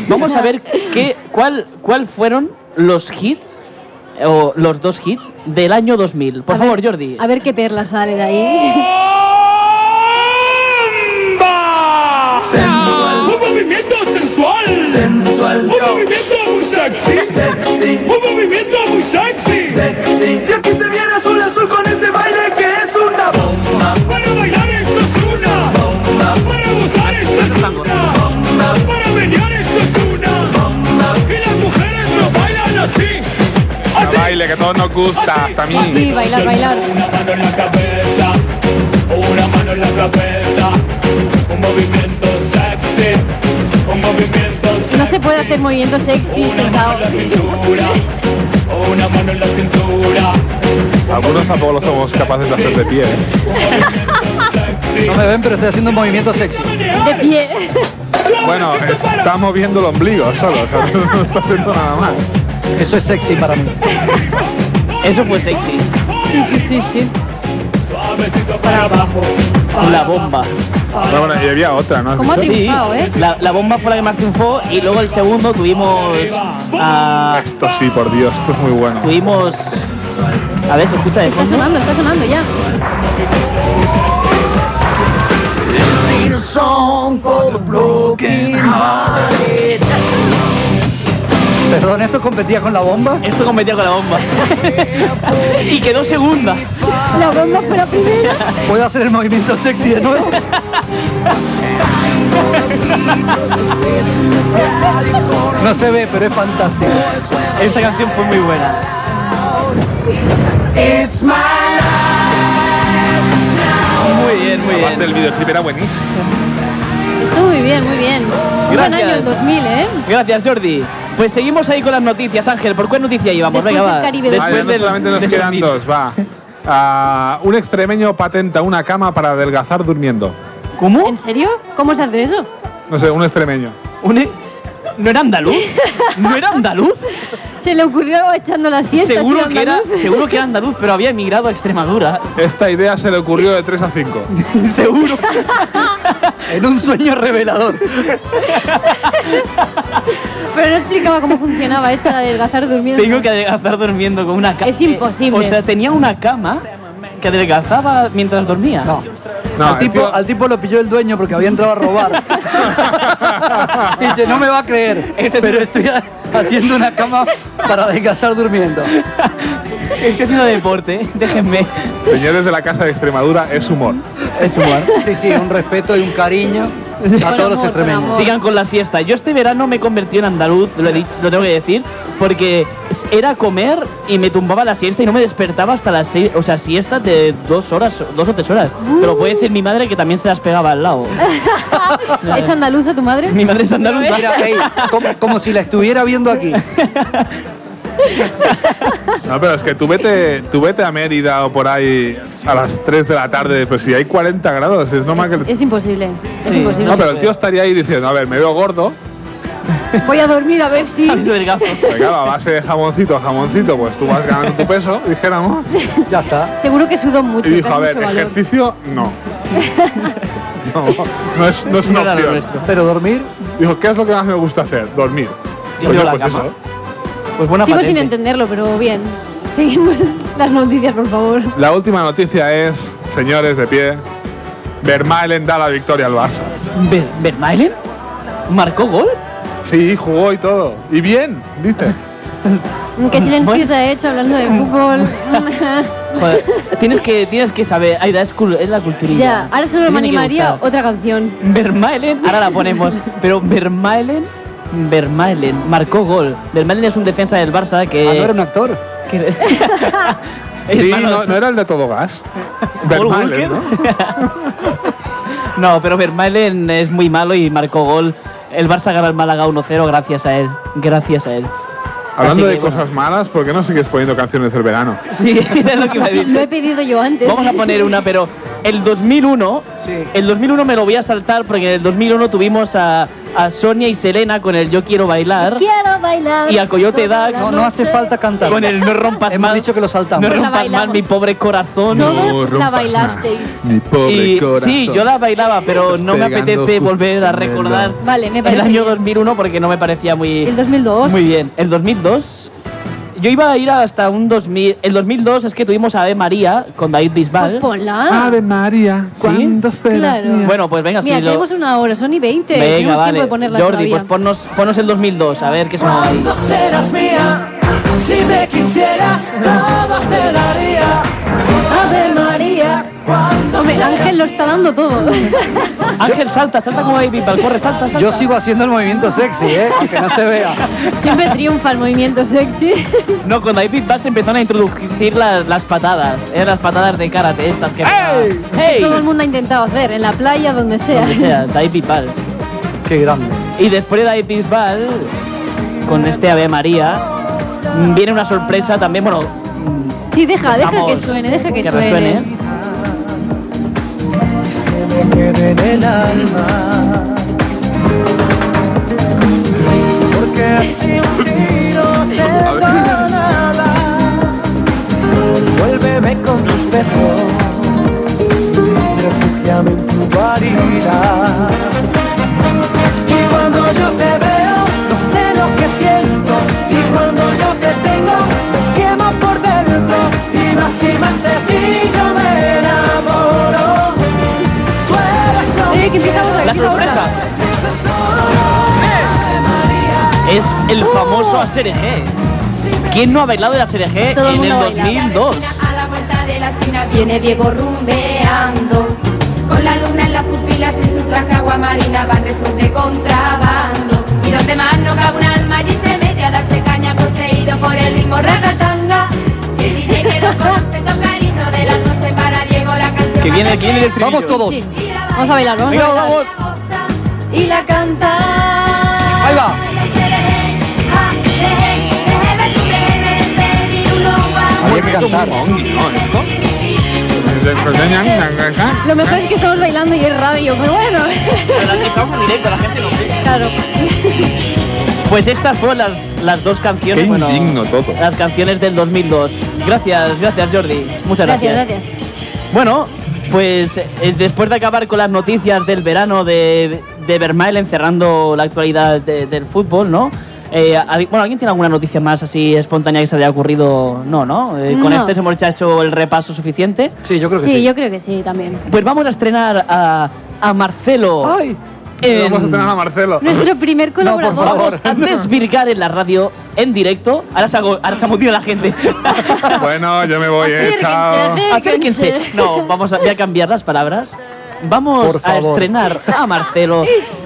[SPEAKER 1] Vamos a
[SPEAKER 2] [laughs]
[SPEAKER 1] ver qué, cuál, cuál fueron los hits, o los dos hits, del año 2000. Por
[SPEAKER 2] A
[SPEAKER 1] favor,
[SPEAKER 2] ver-
[SPEAKER 1] Jordi.
[SPEAKER 2] A ver qué perla sale de ahí.
[SPEAKER 6] Sensual. Un movimiento sensual. Sensual. Un movimiento muy sexy. Sexy. Un movimiento muy sexy. Sexy. Y aquí se viene azul azul con este baile que es una bomba. Para bailar esto es una bomba. Para gozar esto es una bomba. Para menear esto es una bomba. Y las mujeres lo bailan así. Así.
[SPEAKER 3] Baile, que todos nos
[SPEAKER 2] Ah,
[SPEAKER 3] gusta, hasta a mí.
[SPEAKER 2] Así, bailar, bailar.
[SPEAKER 6] Una mano en la cabeza, una mano en la cabeza, un movimiento sexy, un movimiento sexy.
[SPEAKER 2] No se puede hacer movimiento sexy
[SPEAKER 6] Una
[SPEAKER 2] sentado.
[SPEAKER 6] mano en la cintura, una mano en la cintura,
[SPEAKER 3] Algunos tampoco lo somos capaces de hacer de pie. ¿eh?
[SPEAKER 6] sexy.
[SPEAKER 5] No me ven, pero estoy haciendo un movimiento sexy.
[SPEAKER 2] De pie. [laughs]
[SPEAKER 3] Bueno, eh, estamos viendo el ombligo solo. o sea, [laughs] No está haciendo nada más.
[SPEAKER 5] Eso es sexy para mí.
[SPEAKER 1] Eso fue sexy.
[SPEAKER 2] Sí, sí, sí, sí.
[SPEAKER 6] Suavecito para abajo.
[SPEAKER 1] La bomba.
[SPEAKER 3] No, bueno, y había otra, ¿no?
[SPEAKER 2] Ah. ¿Cómo
[SPEAKER 3] ¿Has dicho?
[SPEAKER 2] te- Triunfado, ¿eh?
[SPEAKER 1] la, la bomba fue la que más triunfó y luego el segundo tuvimos a...
[SPEAKER 3] Esto sí, por Dios, esto es muy bueno.
[SPEAKER 1] Tuvimos... A ver, se escucha de
[SPEAKER 2] Está
[SPEAKER 1] fondo?
[SPEAKER 2] sonando, está sonando ya.
[SPEAKER 5] Perdón, ¿esto competía con la bomba?
[SPEAKER 1] Esto competía con la bomba. [laughs] y quedó segunda.
[SPEAKER 2] La bomba fue la primera.
[SPEAKER 5] ¿Puedo hacer el movimiento sexy de nuevo? [laughs] No se ve, pero es fantástico.
[SPEAKER 1] Esta canción fue muy buena. Muy bien, muy
[SPEAKER 3] Aparte, el
[SPEAKER 1] bien.
[SPEAKER 3] videoclip era buenísimo.
[SPEAKER 2] Estuvo muy bien, muy bien. Buen
[SPEAKER 1] Gracias.
[SPEAKER 2] año el 2000, ¿eh?
[SPEAKER 1] Gracias, Jordi. Pues seguimos ahí con las noticias, Ángel. ¿Por cuál noticia llevamos?
[SPEAKER 2] Después
[SPEAKER 1] Venga,
[SPEAKER 2] del
[SPEAKER 1] va.
[SPEAKER 2] Caribe.
[SPEAKER 1] Después
[SPEAKER 3] Vale, no
[SPEAKER 1] del-
[SPEAKER 3] solamente nos
[SPEAKER 1] del
[SPEAKER 3] quedan
[SPEAKER 1] dormir.
[SPEAKER 3] dos, va. Ah, un extremeño patenta una cama para adelgazar durmiendo.
[SPEAKER 1] ¿Cómo?
[SPEAKER 2] ¿En serio? ¿Cómo se hace eso?
[SPEAKER 3] No sé, un extremeño.
[SPEAKER 1] [laughs] ¿Un- e-? ¿No era andaluz? ¿No era
[SPEAKER 2] [laughs]
[SPEAKER 1] andaluz?
[SPEAKER 2] Se le ocurrió echando la siesta.
[SPEAKER 1] seguro,
[SPEAKER 2] así,
[SPEAKER 1] que era,
[SPEAKER 2] andaluz.
[SPEAKER 1] seguro que era andaluz, pero había emigrado a Extremadura. [laughs]
[SPEAKER 3] Esta idea se le ocurrió de 3 a 5.
[SPEAKER 2] [laughs]
[SPEAKER 1] seguro.
[SPEAKER 5] En un sueño revelador.
[SPEAKER 2] Pero no explicaba cómo funcionaba esta de adelgazar durmiendo.
[SPEAKER 1] Tengo que adelgazar durmiendo con una cama.
[SPEAKER 2] Es imposible.
[SPEAKER 1] O sea, tenía una cama que adelgazaba mientras dormía.
[SPEAKER 5] No.
[SPEAKER 3] No,
[SPEAKER 5] al,
[SPEAKER 3] el
[SPEAKER 5] tipo,
[SPEAKER 3] tío-
[SPEAKER 5] al tipo lo pilló el dueño porque había entrado a [laughs] robar. Dice, no me va a creer, pero [laughs] estoy ha- haciendo una cama para descansar durmiendo.
[SPEAKER 1] Estoy haciendo deporte, [laughs] déjenme.
[SPEAKER 3] Señores de la Casa de Extremadura, es humor.
[SPEAKER 5] Es humor. Sí, sí, un respeto y un cariño a
[SPEAKER 2] Con
[SPEAKER 5] todos los
[SPEAKER 2] amor, con
[SPEAKER 5] extremeños.
[SPEAKER 2] amor.
[SPEAKER 1] Sigan con la siesta. Yo este verano me convertí en andaluz, lo, he dicho- lo tengo que decir, porque s- era comer y me tumbaba la siesta y no me despertaba hasta las seis, o sea, siestas de dos horas, dos o tres horas. Te lo puede decir mi madre que también se las pegaba al
[SPEAKER 2] [laughs]
[SPEAKER 1] lado.
[SPEAKER 2] ¿Es andaluza tu madre?
[SPEAKER 1] mi madre es andaluza.
[SPEAKER 2] [laughs]
[SPEAKER 5] Mira, ey, como, como si la estuviera viendo aquí.
[SPEAKER 3] No, pero es que tú vete, tú vete a Mérida o por ahí a las 3 de la tarde, pero si hay 40 grados, es normal
[SPEAKER 2] Es,
[SPEAKER 3] que...
[SPEAKER 2] es imposible. Es
[SPEAKER 1] Sí. Ah,
[SPEAKER 2] imposible.
[SPEAKER 3] No, pero el tío estaría ahí diciendo, a ver, me veo gordo,
[SPEAKER 2] Voy a dormir a ver
[SPEAKER 1] [laughs] [laughs]
[SPEAKER 2] si.
[SPEAKER 1] A ver, delgazo.
[SPEAKER 3] pero claro, a base de jamoncito, jamoncito, pues tú vas ganando tu peso, dijéramos,
[SPEAKER 5] Ya está.
[SPEAKER 2] Seguro que sudó mucho.
[SPEAKER 3] y
[SPEAKER 2] que
[SPEAKER 3] dijo,
[SPEAKER 2] hace
[SPEAKER 3] a ver,
[SPEAKER 2] mucho calor.
[SPEAKER 3] ejercicio,
[SPEAKER 1] [laughs]
[SPEAKER 3] no. No, no es, no es
[SPEAKER 1] No
[SPEAKER 3] una
[SPEAKER 1] era lo
[SPEAKER 3] opción.
[SPEAKER 1] nuestro.
[SPEAKER 5] Pero dormir,
[SPEAKER 3] Dijo, ¿qué es lo que más me gusta hacer? Dormir. pues
[SPEAKER 1] Yo
[SPEAKER 3] Coño,
[SPEAKER 1] la cama.
[SPEAKER 3] ¿eh?
[SPEAKER 1] Pues buena
[SPEAKER 2] Sigo sin
[SPEAKER 1] patente.
[SPEAKER 2] entenderlo, pero bien. Seguimos [laughs] las noticias, por favor.
[SPEAKER 3] La última noticia es, señores de pie, Vermaelen da la victoria al Barça.
[SPEAKER 1] Ver- ¿Vermaelen? ¿Marcó gol?
[SPEAKER 3] Sí, jugó y todo. Y bien, dice.
[SPEAKER 2] Qué silencio
[SPEAKER 1] Ah, Bueno.
[SPEAKER 2] se ha hecho hablando de
[SPEAKER 1] [laughs]
[SPEAKER 2] fútbol.
[SPEAKER 1] Joder, tienes que, tienes que saber. Aida, es, cul- es la culturilla.
[SPEAKER 2] ya, ahora solo
[SPEAKER 1] Tiene
[SPEAKER 2] me
[SPEAKER 1] que
[SPEAKER 2] animaría
[SPEAKER 1] gustar.
[SPEAKER 2] otra canción.
[SPEAKER 1] Vermaelen, ahora la ponemos, pero Vermaelen, Vermaelen, marcó gol. Vermaelen es un defensa del Barça que...
[SPEAKER 5] ah, no era un actor.
[SPEAKER 1] que- [laughs] [laughs] Es
[SPEAKER 3] Sí,
[SPEAKER 1] malo.
[SPEAKER 3] no, no era el de
[SPEAKER 1] [laughs]
[SPEAKER 3] todo gas.
[SPEAKER 1] Paul
[SPEAKER 3] Vermaelen, ¿no?
[SPEAKER 1] Walker. No, pero Vermaelen es muy malo y marcó gol. El Barça gana al Málaga 1-0 gracias a él, gracias a él. [laughs] Así
[SPEAKER 3] Hablando
[SPEAKER 1] que,
[SPEAKER 3] de
[SPEAKER 1] bueno.
[SPEAKER 3] cosas malas, ¿por qué no sigues poniendo canciones del verano?
[SPEAKER 1] [laughs] Sí, es lo que iba a
[SPEAKER 2] Sí,
[SPEAKER 1] decir.
[SPEAKER 2] lo he pedido yo antes.
[SPEAKER 1] Vamos a poner una, pero el 2001,
[SPEAKER 5] Sí.
[SPEAKER 1] el 2001 me lo voy a saltar porque en el 2001 tuvimos a, a Sonia y Selena con el Yo quiero bailar.
[SPEAKER 2] Quiero bailar.
[SPEAKER 1] Y al Coyote
[SPEAKER 2] toda
[SPEAKER 1] Dax.
[SPEAKER 2] la
[SPEAKER 5] No, no hace
[SPEAKER 2] noche.
[SPEAKER 5] falta cantar.
[SPEAKER 1] Con el no rompas
[SPEAKER 5] Hemos
[SPEAKER 1] más.
[SPEAKER 5] dicho que lo saltamos.
[SPEAKER 1] No
[SPEAKER 2] Pues la
[SPEAKER 1] rompas más
[SPEAKER 2] bailamos.
[SPEAKER 1] mi pobre corazón.
[SPEAKER 2] No, Todos la bailasteis.
[SPEAKER 3] Mi pobre
[SPEAKER 1] Y-
[SPEAKER 3] corazón.
[SPEAKER 1] sí, yo la bailaba, pero no me
[SPEAKER 3] Despegando
[SPEAKER 1] apetece
[SPEAKER 3] justo
[SPEAKER 1] volver a
[SPEAKER 3] en el
[SPEAKER 1] recordar
[SPEAKER 3] lado.
[SPEAKER 2] Vale, me
[SPEAKER 1] el
[SPEAKER 2] parece
[SPEAKER 1] año
[SPEAKER 2] bien.
[SPEAKER 1] 2001 porque no me parecía muy,
[SPEAKER 2] El 2002.
[SPEAKER 1] muy bien. El 2002, yo iba a ir hasta un 2000. El 2002 es que tuvimos a Ave María con David
[SPEAKER 2] Pues
[SPEAKER 1] Bisbal.
[SPEAKER 5] Ah,
[SPEAKER 2] ponla.
[SPEAKER 3] Ave María,
[SPEAKER 1] ¿Sí?
[SPEAKER 3] cuando serás
[SPEAKER 2] Claro.
[SPEAKER 3] mía?
[SPEAKER 1] bueno, pues venga,
[SPEAKER 2] Mira,
[SPEAKER 1] si lo-
[SPEAKER 2] tenemos una hora, son y 20.
[SPEAKER 1] Venga,
[SPEAKER 2] tenemos
[SPEAKER 1] vale.
[SPEAKER 2] tiempo de ponerla
[SPEAKER 1] Jordi,
[SPEAKER 2] todavía.
[SPEAKER 1] pues ponnos, ponnos el 2002, a ver qué son ahí.
[SPEAKER 7] Cuando serás mía, si me quisieras, todo te daría. Ave María, cuando
[SPEAKER 2] Hombre,
[SPEAKER 7] serás
[SPEAKER 2] Ángel lo está dando
[SPEAKER 7] [laughs]
[SPEAKER 2] todo.
[SPEAKER 1] Ángel, salta, salta como David Bisbal, corre, salta, salta.
[SPEAKER 5] Yo sigo haciendo el movimiento sexy, ¿eh? aunque no se vea.
[SPEAKER 2] Siempre triunfa el movimiento sexy.
[SPEAKER 1] No, con David Bisbal se empezaron a introducir las, las patadas, eh, las patadas de karate estas que... ¡Hey!
[SPEAKER 2] Todo el mundo ha intentado hacer, en la playa, donde sea.
[SPEAKER 1] Donde sea, David Bisbal.
[SPEAKER 5] Qué grande.
[SPEAKER 1] Y después de David Bisbal, con este Ave María, mm, viene una sorpresa también, bueno, mm,
[SPEAKER 2] Sí, Ah, deja, deja
[SPEAKER 1] Vamos.
[SPEAKER 2] que suene, deja que,
[SPEAKER 1] que
[SPEAKER 2] suene.
[SPEAKER 1] resuene. ¿eh?
[SPEAKER 7] mía en el alma. Porque así
[SPEAKER 2] [laughs]
[SPEAKER 7] un tiro te
[SPEAKER 3] ver.
[SPEAKER 7] da nada. Vuélveme con tus besos, refúgiame en tu guarida. Y cuando yo te veo, no sé lo que siento. Y cuando yo te tengo, me quemo por dentro. Y más y más de ti yo me enamoro. Tú eres lo
[SPEAKER 2] Eh, que empieza otra, que
[SPEAKER 1] La
[SPEAKER 2] empieza otra.
[SPEAKER 1] sorpresa
[SPEAKER 7] mi
[SPEAKER 2] Eh.
[SPEAKER 7] tesoro.
[SPEAKER 1] es el
[SPEAKER 2] Uh.
[SPEAKER 1] famoso ASRG. ¿Quién no ha bailado el ASRG
[SPEAKER 2] Todo el
[SPEAKER 1] en el
[SPEAKER 2] mundo baila.
[SPEAKER 1] 2002?
[SPEAKER 8] A la vuelta de la esquina viene Diego rumbeando. Con la luna en las pupilas y su traje aguamarina va restos de contrabando. Y donde más no cabe un alma allí se mete a darse caña poseído por el mismo ragatanga. El DJ que lo conoce toca el himno de las doce para Diego la canción.
[SPEAKER 1] Que viene
[SPEAKER 8] más
[SPEAKER 1] aquí en el
[SPEAKER 8] de-
[SPEAKER 1] estribillo.
[SPEAKER 5] Vamos todos.
[SPEAKER 2] Sí. Vamos a bailar, vamos
[SPEAKER 1] Venga,
[SPEAKER 2] a bailar.
[SPEAKER 1] vamos.
[SPEAKER 8] Y la canta.
[SPEAKER 5] Ahí va.
[SPEAKER 8] Ay, ay, ay, ay, ay, ah,
[SPEAKER 5] cantar.
[SPEAKER 3] ¿no? Esto.
[SPEAKER 2] Lo mejor es que estamos bailando y es radio, pero bueno. [laughs]
[SPEAKER 1] Estamos en directo, la gente no ve.
[SPEAKER 2] claro.
[SPEAKER 1] Pues estas fueron las, las dos canciones.
[SPEAKER 3] Qué indigno todo.
[SPEAKER 1] Las canciones del 2002. Gracias, gracias Jordi. Muchas
[SPEAKER 2] Gracias, gracias.
[SPEAKER 1] Bueno, pues eh, después de acabar con las noticias del verano de, de Vermael encerrando la actualidad de- del fútbol, ¿no? Eh, al- bueno, ¿alguien tiene alguna noticia más así espontánea que se le haya ocurrido? No, ¿no? Eh, Con
[SPEAKER 2] No.
[SPEAKER 1] este hemos hecho el repaso suficiente.
[SPEAKER 5] Sí, yo creo que
[SPEAKER 2] Sí,
[SPEAKER 5] sí.
[SPEAKER 2] yo creo que sí también.
[SPEAKER 1] Pues vamos a estrenar a, a Marcelo.
[SPEAKER 5] ¡Ay!
[SPEAKER 1] en-
[SPEAKER 3] Vamos a tener a Marcelo. [laughs]
[SPEAKER 2] Nuestro primer colaborador.
[SPEAKER 5] favor.
[SPEAKER 1] a desvirgar en la radio en directo. Ahora se, hago- ahora se amotina la gente.
[SPEAKER 2] [laughs]
[SPEAKER 3] Bueno, yo me voy, eh.
[SPEAKER 2] Acérquense,
[SPEAKER 3] Chao.
[SPEAKER 2] acérquense.
[SPEAKER 1] Acérquense. No, vamos a, voy a cambiar las palabras. Vamos
[SPEAKER 5] Por
[SPEAKER 1] a
[SPEAKER 5] favor.
[SPEAKER 1] estrenar a Marcelo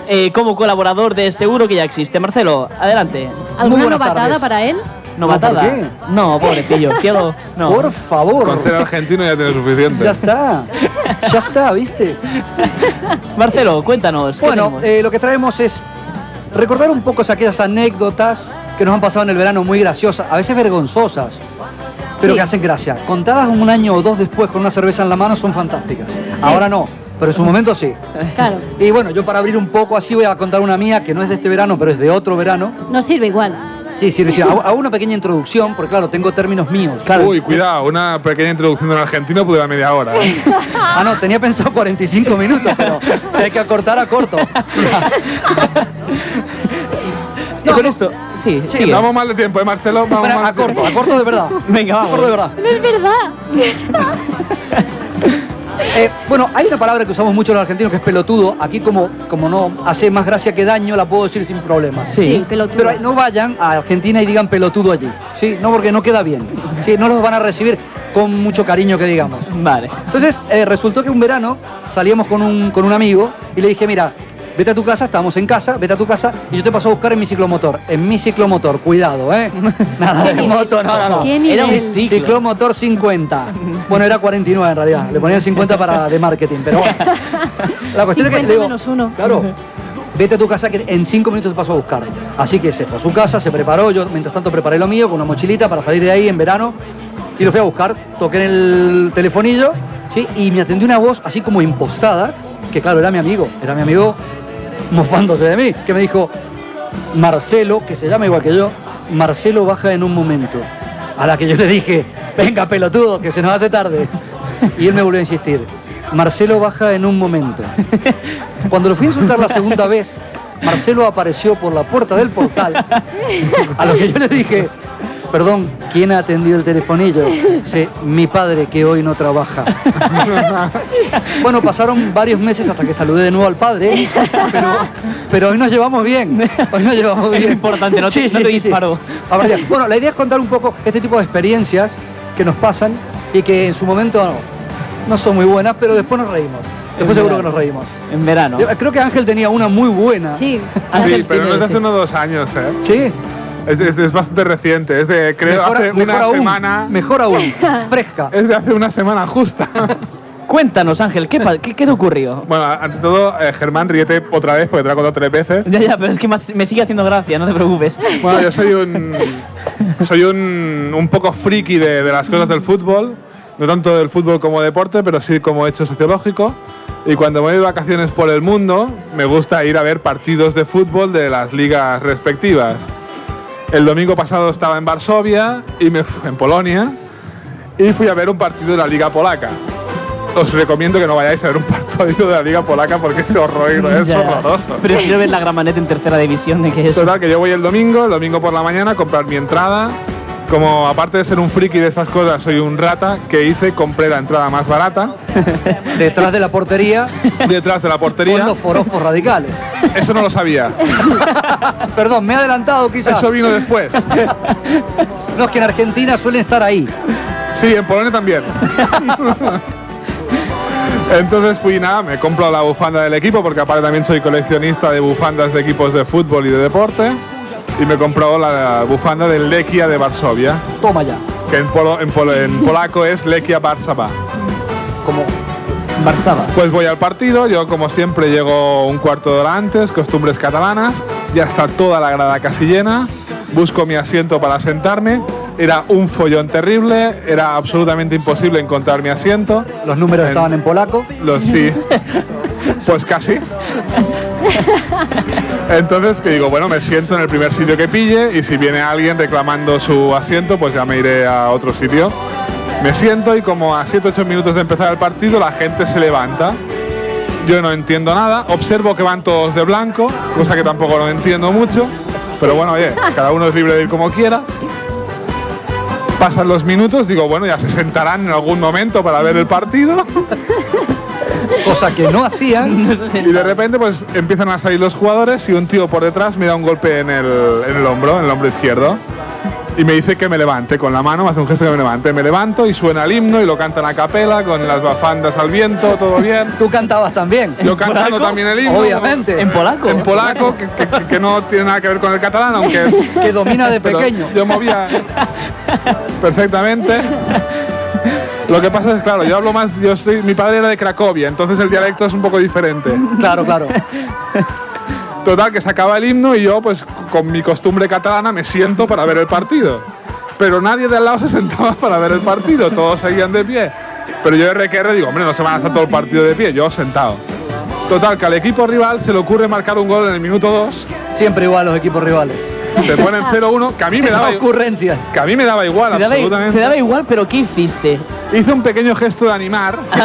[SPEAKER 1] eh, como colaborador de Seguro que ya existe. Marcelo, adelante.
[SPEAKER 5] Muy
[SPEAKER 2] ¿Alguna
[SPEAKER 5] buenas
[SPEAKER 2] novatada
[SPEAKER 5] tardes.
[SPEAKER 2] para él?
[SPEAKER 1] Novatada.
[SPEAKER 5] ¿por qué?
[SPEAKER 1] No,
[SPEAKER 5] [laughs]
[SPEAKER 1] pobrecillo. cielo, no.
[SPEAKER 5] Por favor.
[SPEAKER 3] Con ser argentino ya tiene suficiente.
[SPEAKER 5] Ya está. Ya está, ¿viste?
[SPEAKER 1] Marcelo, cuéntanos. ¿qué
[SPEAKER 5] Bueno,
[SPEAKER 1] tenemos?
[SPEAKER 5] eh, lo que traemos es recordar un poco aquellas anécdotas que nos han pasado en el verano muy graciosas, a veces vergonzosas, pero
[SPEAKER 2] Sí.
[SPEAKER 5] que hacen gracia. Contadas un año o dos después con una cerveza en la mano son fantásticas. Ahora no, pero en su momento sí.
[SPEAKER 2] Claro.
[SPEAKER 5] Y bueno, yo para abrir un poco así voy a contar una mía que no es de este verano, pero es de otro verano.
[SPEAKER 2] No sirve igual.
[SPEAKER 5] Sí, sí, sí. Hago hago una pequeña introducción, porque claro, tengo términos míos.
[SPEAKER 3] Uy, cuidado, una pequeña introducción del argentino puede dar media hora. ¿eh?
[SPEAKER 5] Ah, no, tenía pensado 45 minutos, pero si hay que acortar, acorto.
[SPEAKER 1] Y con esto, sí,
[SPEAKER 5] Sí,
[SPEAKER 1] sigue.
[SPEAKER 3] Vamos mal de tiempo, eh, Marcelo. Vamos
[SPEAKER 5] Espera,
[SPEAKER 3] mal de
[SPEAKER 5] acorto,
[SPEAKER 3] tiempo.
[SPEAKER 5] acorto de
[SPEAKER 3] [laughs]
[SPEAKER 5] verdad.
[SPEAKER 1] Venga, vamos.
[SPEAKER 5] Acorto de verdad.
[SPEAKER 2] No es verdad.
[SPEAKER 5] Eh, bueno, hay una palabra que usamos mucho los argentinos que es pelotudo. Aquí como, como no hace más gracia que daño, la puedo decir sin problema.
[SPEAKER 2] Sí, pelotudo.
[SPEAKER 5] Pero no vayan a Argentina y digan pelotudo allí. Sí, no porque no queda bien. Sí, no los van a recibir con mucho cariño que digamos. [laughs]
[SPEAKER 1] Vale.
[SPEAKER 5] Entonces, eh, resultó que un verano salíamos con un, con un amigo y le dije, mira, vete a tu casa, estábamos en casa, vete a tu casa y yo te paso a buscar en mi ciclomotor. En mi ciclomotor, cuidado, ¿eh? [laughs] Nada de moto, no, no, no.
[SPEAKER 2] ¿Qué
[SPEAKER 1] Era un
[SPEAKER 2] nivel?
[SPEAKER 1] ciclo.
[SPEAKER 5] Ciclomotor 50. Bueno, era 49 en realidad. Le ponían 50 para de marketing,
[SPEAKER 2] [laughs]
[SPEAKER 5] pero bueno. La cuestión es que
[SPEAKER 2] 50
[SPEAKER 5] le digo,
[SPEAKER 2] menos uno.
[SPEAKER 5] Claro. Vete a tu casa que en cinco minutos te paso a buscar. Así que se fue a su casa, se preparó, yo mientras tanto preparé lo mío con una mochilita para salir de ahí en verano y lo fui a buscar, toqué en el telefonillo, ¿sí? Y me atendió una voz así como impostada, que claro, era mi amigo, era mi amigo mofándose de mí, que me dijo, Marcelo, que se llama igual que yo, Marcelo baja en un momento. A la que yo le dije, venga pelotudo, que se nos hace tarde. Y él me volvió a insistir, Marcelo baja en un momento. Cuando lo fui a insultar la segunda vez, Marcelo apareció por la puerta del portal, a lo que yo le dije, perdón, ¿quién ha atendido el telefonillo? Dice, mi padre que hoy no trabaja. Bueno, pasaron varios meses hasta que saludé de nuevo al padre, pero, pero hoy nos llevamos bien. Hoy nos llevamos
[SPEAKER 1] Es
[SPEAKER 5] bien.
[SPEAKER 1] lo importante, no te- no te disparó.
[SPEAKER 5] A partir de- Bueno, la idea es contar un poco este tipo de experiencias que nos pasan y que en su momento no son muy buenas, pero después nos reímos. Después seguro que nos reímos.
[SPEAKER 1] En verano.
[SPEAKER 5] Yo creo que Ángel tenía una muy buena.
[SPEAKER 2] Sí.
[SPEAKER 3] Sí,
[SPEAKER 1] Ángel
[SPEAKER 3] pero no es
[SPEAKER 1] tiene-
[SPEAKER 3] de hace
[SPEAKER 1] sí.
[SPEAKER 3] unos dos años, eh.
[SPEAKER 5] Sí.
[SPEAKER 3] Es, es- es bastante reciente, es de, creo,
[SPEAKER 5] Mejor,
[SPEAKER 3] hace
[SPEAKER 5] mejor
[SPEAKER 3] una
[SPEAKER 5] aún.
[SPEAKER 3] semana.
[SPEAKER 5] Mejor aún. Fresca.
[SPEAKER 3] Es de hace una semana justa. [laughs]
[SPEAKER 1] Cuéntanos, Ángel, ¿qué, pa- qué, qué te ocurrió?
[SPEAKER 3] bueno, ante todo, eh, Germán, ríete otra vez porque te lo he contado tres veces.
[SPEAKER 1] Ya, ya, pero es que me hace- me sigue haciendo gracia, no te
[SPEAKER 3] [laughs]
[SPEAKER 1] preocupes.
[SPEAKER 3] Bueno, yo soy un. Soy un, un poco friki de, de las cosas del fútbol. No tanto del fútbol como deporte, pero sí como hecho sociológico. Y cuando me voy de vacaciones por el mundo, me gusta ir a ver partidos de fútbol de las ligas respectivas. El domingo pasado estaba en Varsovia, y me, fu- en Polonia, y fui a ver un partido de la Liga Polaca. Os recomiendo que no vayáis a ver un partido de la Liga Polaca porque es horror,
[SPEAKER 1] [laughs]
[SPEAKER 3] es
[SPEAKER 1] Ya, ya.
[SPEAKER 3] horroroso.
[SPEAKER 1] Prefiero ver la gramaneta en tercera división de que eso.
[SPEAKER 3] Total, que yo voy el domingo, el domingo por la mañana, a comprar mi entrada. Como aparte de ser un friki de estas cosas, soy un rata que hice, compré la entrada más barata, Eh.
[SPEAKER 5] Detrás de la portería,
[SPEAKER 3] detrás de la
[SPEAKER 5] con
[SPEAKER 3] portería.
[SPEAKER 5] los forofos radicales.
[SPEAKER 3] Eso no lo sabía.
[SPEAKER 5] Perdón, me he adelantado quizás.
[SPEAKER 3] Eso vino después.
[SPEAKER 5] No, es que en Argentina suelen estar ahí.
[SPEAKER 3] Sí, en Polonia también. Entonces fui nada, me compro la bufanda del equipo porque aparte también soy coleccionista de bufandas de equipos de fútbol y de deporte. Y me compró la bufanda del Lekia de Varsovia,
[SPEAKER 5] Toma ya.
[SPEAKER 3] que en, polo- en polo- en polaco es Lekia Warszawa.
[SPEAKER 5] Como Barzaba.
[SPEAKER 3] Pues voy al partido, yo como siempre llego un cuarto de hora antes, costumbres catalanas, ya está toda la grada casi llena, busco mi asiento para sentarme Era un follón terrible, era absolutamente imposible encontrar mi asiento.
[SPEAKER 5] Los números
[SPEAKER 3] Em.
[SPEAKER 5] estaban en polaco.
[SPEAKER 3] Los sí. Pues casi. Entonces que digo, bueno, me siento en el primer sitio que pille y si viene alguien reclamando su asiento, pues ya me iré a otro sitio. Me siento y como a 7-8 minutos de empezar el partido la gente se levanta. Yo no entiendo nada, observo que van todos de blanco, cosa que tampoco lo entiendo mucho, pero bueno, oye, cada uno es libre de ir como quiera. Pasan los minutos, digo, bueno, ya se sentarán en algún momento para ver el partido.
[SPEAKER 5] Cosa que no hacían.
[SPEAKER 1] [laughs]
[SPEAKER 3] [laughs]
[SPEAKER 1] No se
[SPEAKER 3] Y de
[SPEAKER 1] sentaba.
[SPEAKER 3] repente pues empiezan a salir los jugadores y un tío por detrás me da un golpe en el, en el hombro, en el hombro izquierdo. Y me dice que me levante con la mano, me hace un gesto que me levante. Me levanto y suena el himno y lo cantan a capela con las bafandas al viento, todo bien.
[SPEAKER 5] Tú cantabas también.
[SPEAKER 3] Yo cantando
[SPEAKER 1] polaco?
[SPEAKER 3] también el himno.
[SPEAKER 5] Obviamente.
[SPEAKER 1] En polaco.
[SPEAKER 3] En polaco, que, que- que no tiene nada que ver con el catalán, aunque
[SPEAKER 5] [laughs] Que
[SPEAKER 3] [laughs]
[SPEAKER 5] domina de
[SPEAKER 3] pero
[SPEAKER 5] pequeño.
[SPEAKER 3] Yo movía perfectamente. Lo que pasa es, claro, yo hablo más, yo soy, mi padre era de Cracovia, entonces el dialecto es un poco diferente.
[SPEAKER 5] Claro, claro.
[SPEAKER 3] Total, que se acaba el himno y yo, pues con mi costumbre catalana, me siento para ver el partido. Pero nadie de al lado se sentaba para ver el partido, todos seguían de pie. Pero yo de RQR digo, hombre, no se van a estar todo el partido de pie, yo sentado. Total, que al equipo rival se le ocurre marcar un gol en el minuto 2,
[SPEAKER 5] Siempre igual los equipos rivales.
[SPEAKER 3] te ponen 0-1, que a mí me
[SPEAKER 5] Esa
[SPEAKER 3] daba,
[SPEAKER 5] ocurrencia.
[SPEAKER 3] que a mí me daba igual,
[SPEAKER 1] Te daba, i-
[SPEAKER 3] absolutamente.
[SPEAKER 1] te daba igual, pero ¿qué hiciste?
[SPEAKER 3] Hice un pequeño gesto de animar, de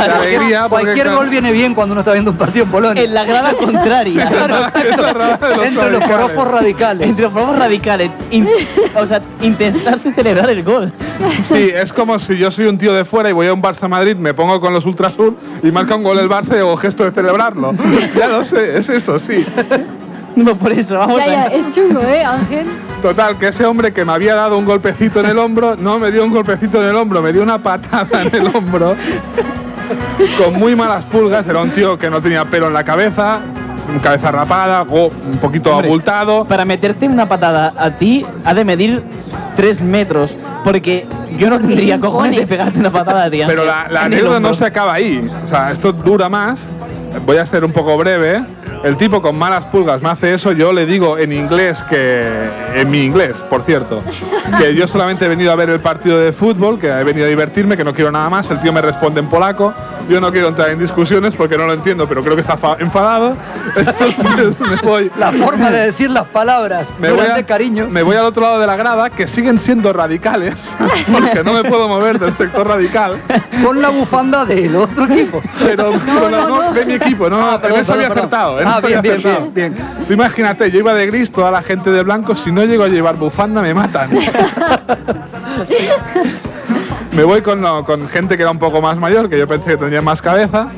[SPEAKER 3] alegría. porque,
[SPEAKER 5] Cualquier
[SPEAKER 3] claro,
[SPEAKER 5] gol viene bien cuando uno está viendo un partido en Polonia.
[SPEAKER 1] En la
[SPEAKER 3] [laughs]
[SPEAKER 1] grada contraria.
[SPEAKER 3] es [laughs] la rara de los
[SPEAKER 5] Entre los
[SPEAKER 3] radicales.
[SPEAKER 5] forofos radicales.
[SPEAKER 1] Entre los probos radicales. in- o sea, intentaste celebrar el gol.
[SPEAKER 3] Sí, es como si yo soy un tío de fuera y voy a un Barça Madrid, me pongo con los Ultrasur y marca un gol el Barça y hago gesto de celebrarlo. ya lo sé, es eso, sí.
[SPEAKER 1] No por eso, vamos
[SPEAKER 2] Ya, ya,
[SPEAKER 1] a
[SPEAKER 2] es chungo, ¿eh, Ángel?
[SPEAKER 3] Total, que ese hombre que me había dado un golpecito en el hombro, no me dio un golpecito en el hombro, me dio una patada en el hombro. Con muy malas pulgas, era un tío que no tenía pelo en la cabeza, cabeza rapada, go- un poquito
[SPEAKER 1] Hombre,
[SPEAKER 3] abultado.
[SPEAKER 1] Para meterte una patada a ti, ha de medir 3 metros. Porque yo no tendría
[SPEAKER 2] impones.
[SPEAKER 1] cojones de pegarte una patada a ti.
[SPEAKER 3] Pero
[SPEAKER 1] Ángel,
[SPEAKER 3] la, la
[SPEAKER 1] en el
[SPEAKER 3] anécdota
[SPEAKER 1] hombro.
[SPEAKER 3] no se acaba ahí. O sea, esto dura más. Voy a ser un poco breve. El tipo con malas pulgas me hace eso. Yo le digo en inglés que. En mi inglés, por cierto. Que yo solamente he venido a ver el partido de fútbol, que he venido a divertirme, que no quiero nada más. El tío me responde en polaco. Yo no quiero entrar en discusiones porque no lo entiendo, pero creo que está fa- enfadado. [laughs] Entonces me voy.
[SPEAKER 5] La forma de decir las palabras.
[SPEAKER 3] Me voy,
[SPEAKER 5] durante
[SPEAKER 3] a-
[SPEAKER 5] cariño.
[SPEAKER 3] me voy al otro lado de la grada, que siguen siendo radicales, [laughs] porque no me puedo mover del sector radical.
[SPEAKER 5] Con la bufanda del otro
[SPEAKER 3] [laughs]
[SPEAKER 5] equipo.
[SPEAKER 3] Pero, pero no, no, de mi equipo, no,
[SPEAKER 5] Ah,
[SPEAKER 3] no,
[SPEAKER 5] perdón,
[SPEAKER 3] en eso había
[SPEAKER 5] perdón,
[SPEAKER 3] acertado.
[SPEAKER 5] perdón.
[SPEAKER 3] en eso
[SPEAKER 5] Ah, bien,
[SPEAKER 3] había
[SPEAKER 5] bien,
[SPEAKER 3] acertado.
[SPEAKER 5] bien, bien.
[SPEAKER 3] Tú imagínate, yo iba de gris, toda la gente de blanco, si no llego a llevar bufanda me matan. me voy con, lo- con gente que era un poco más mayor, que yo pensé que tendría más cabeza,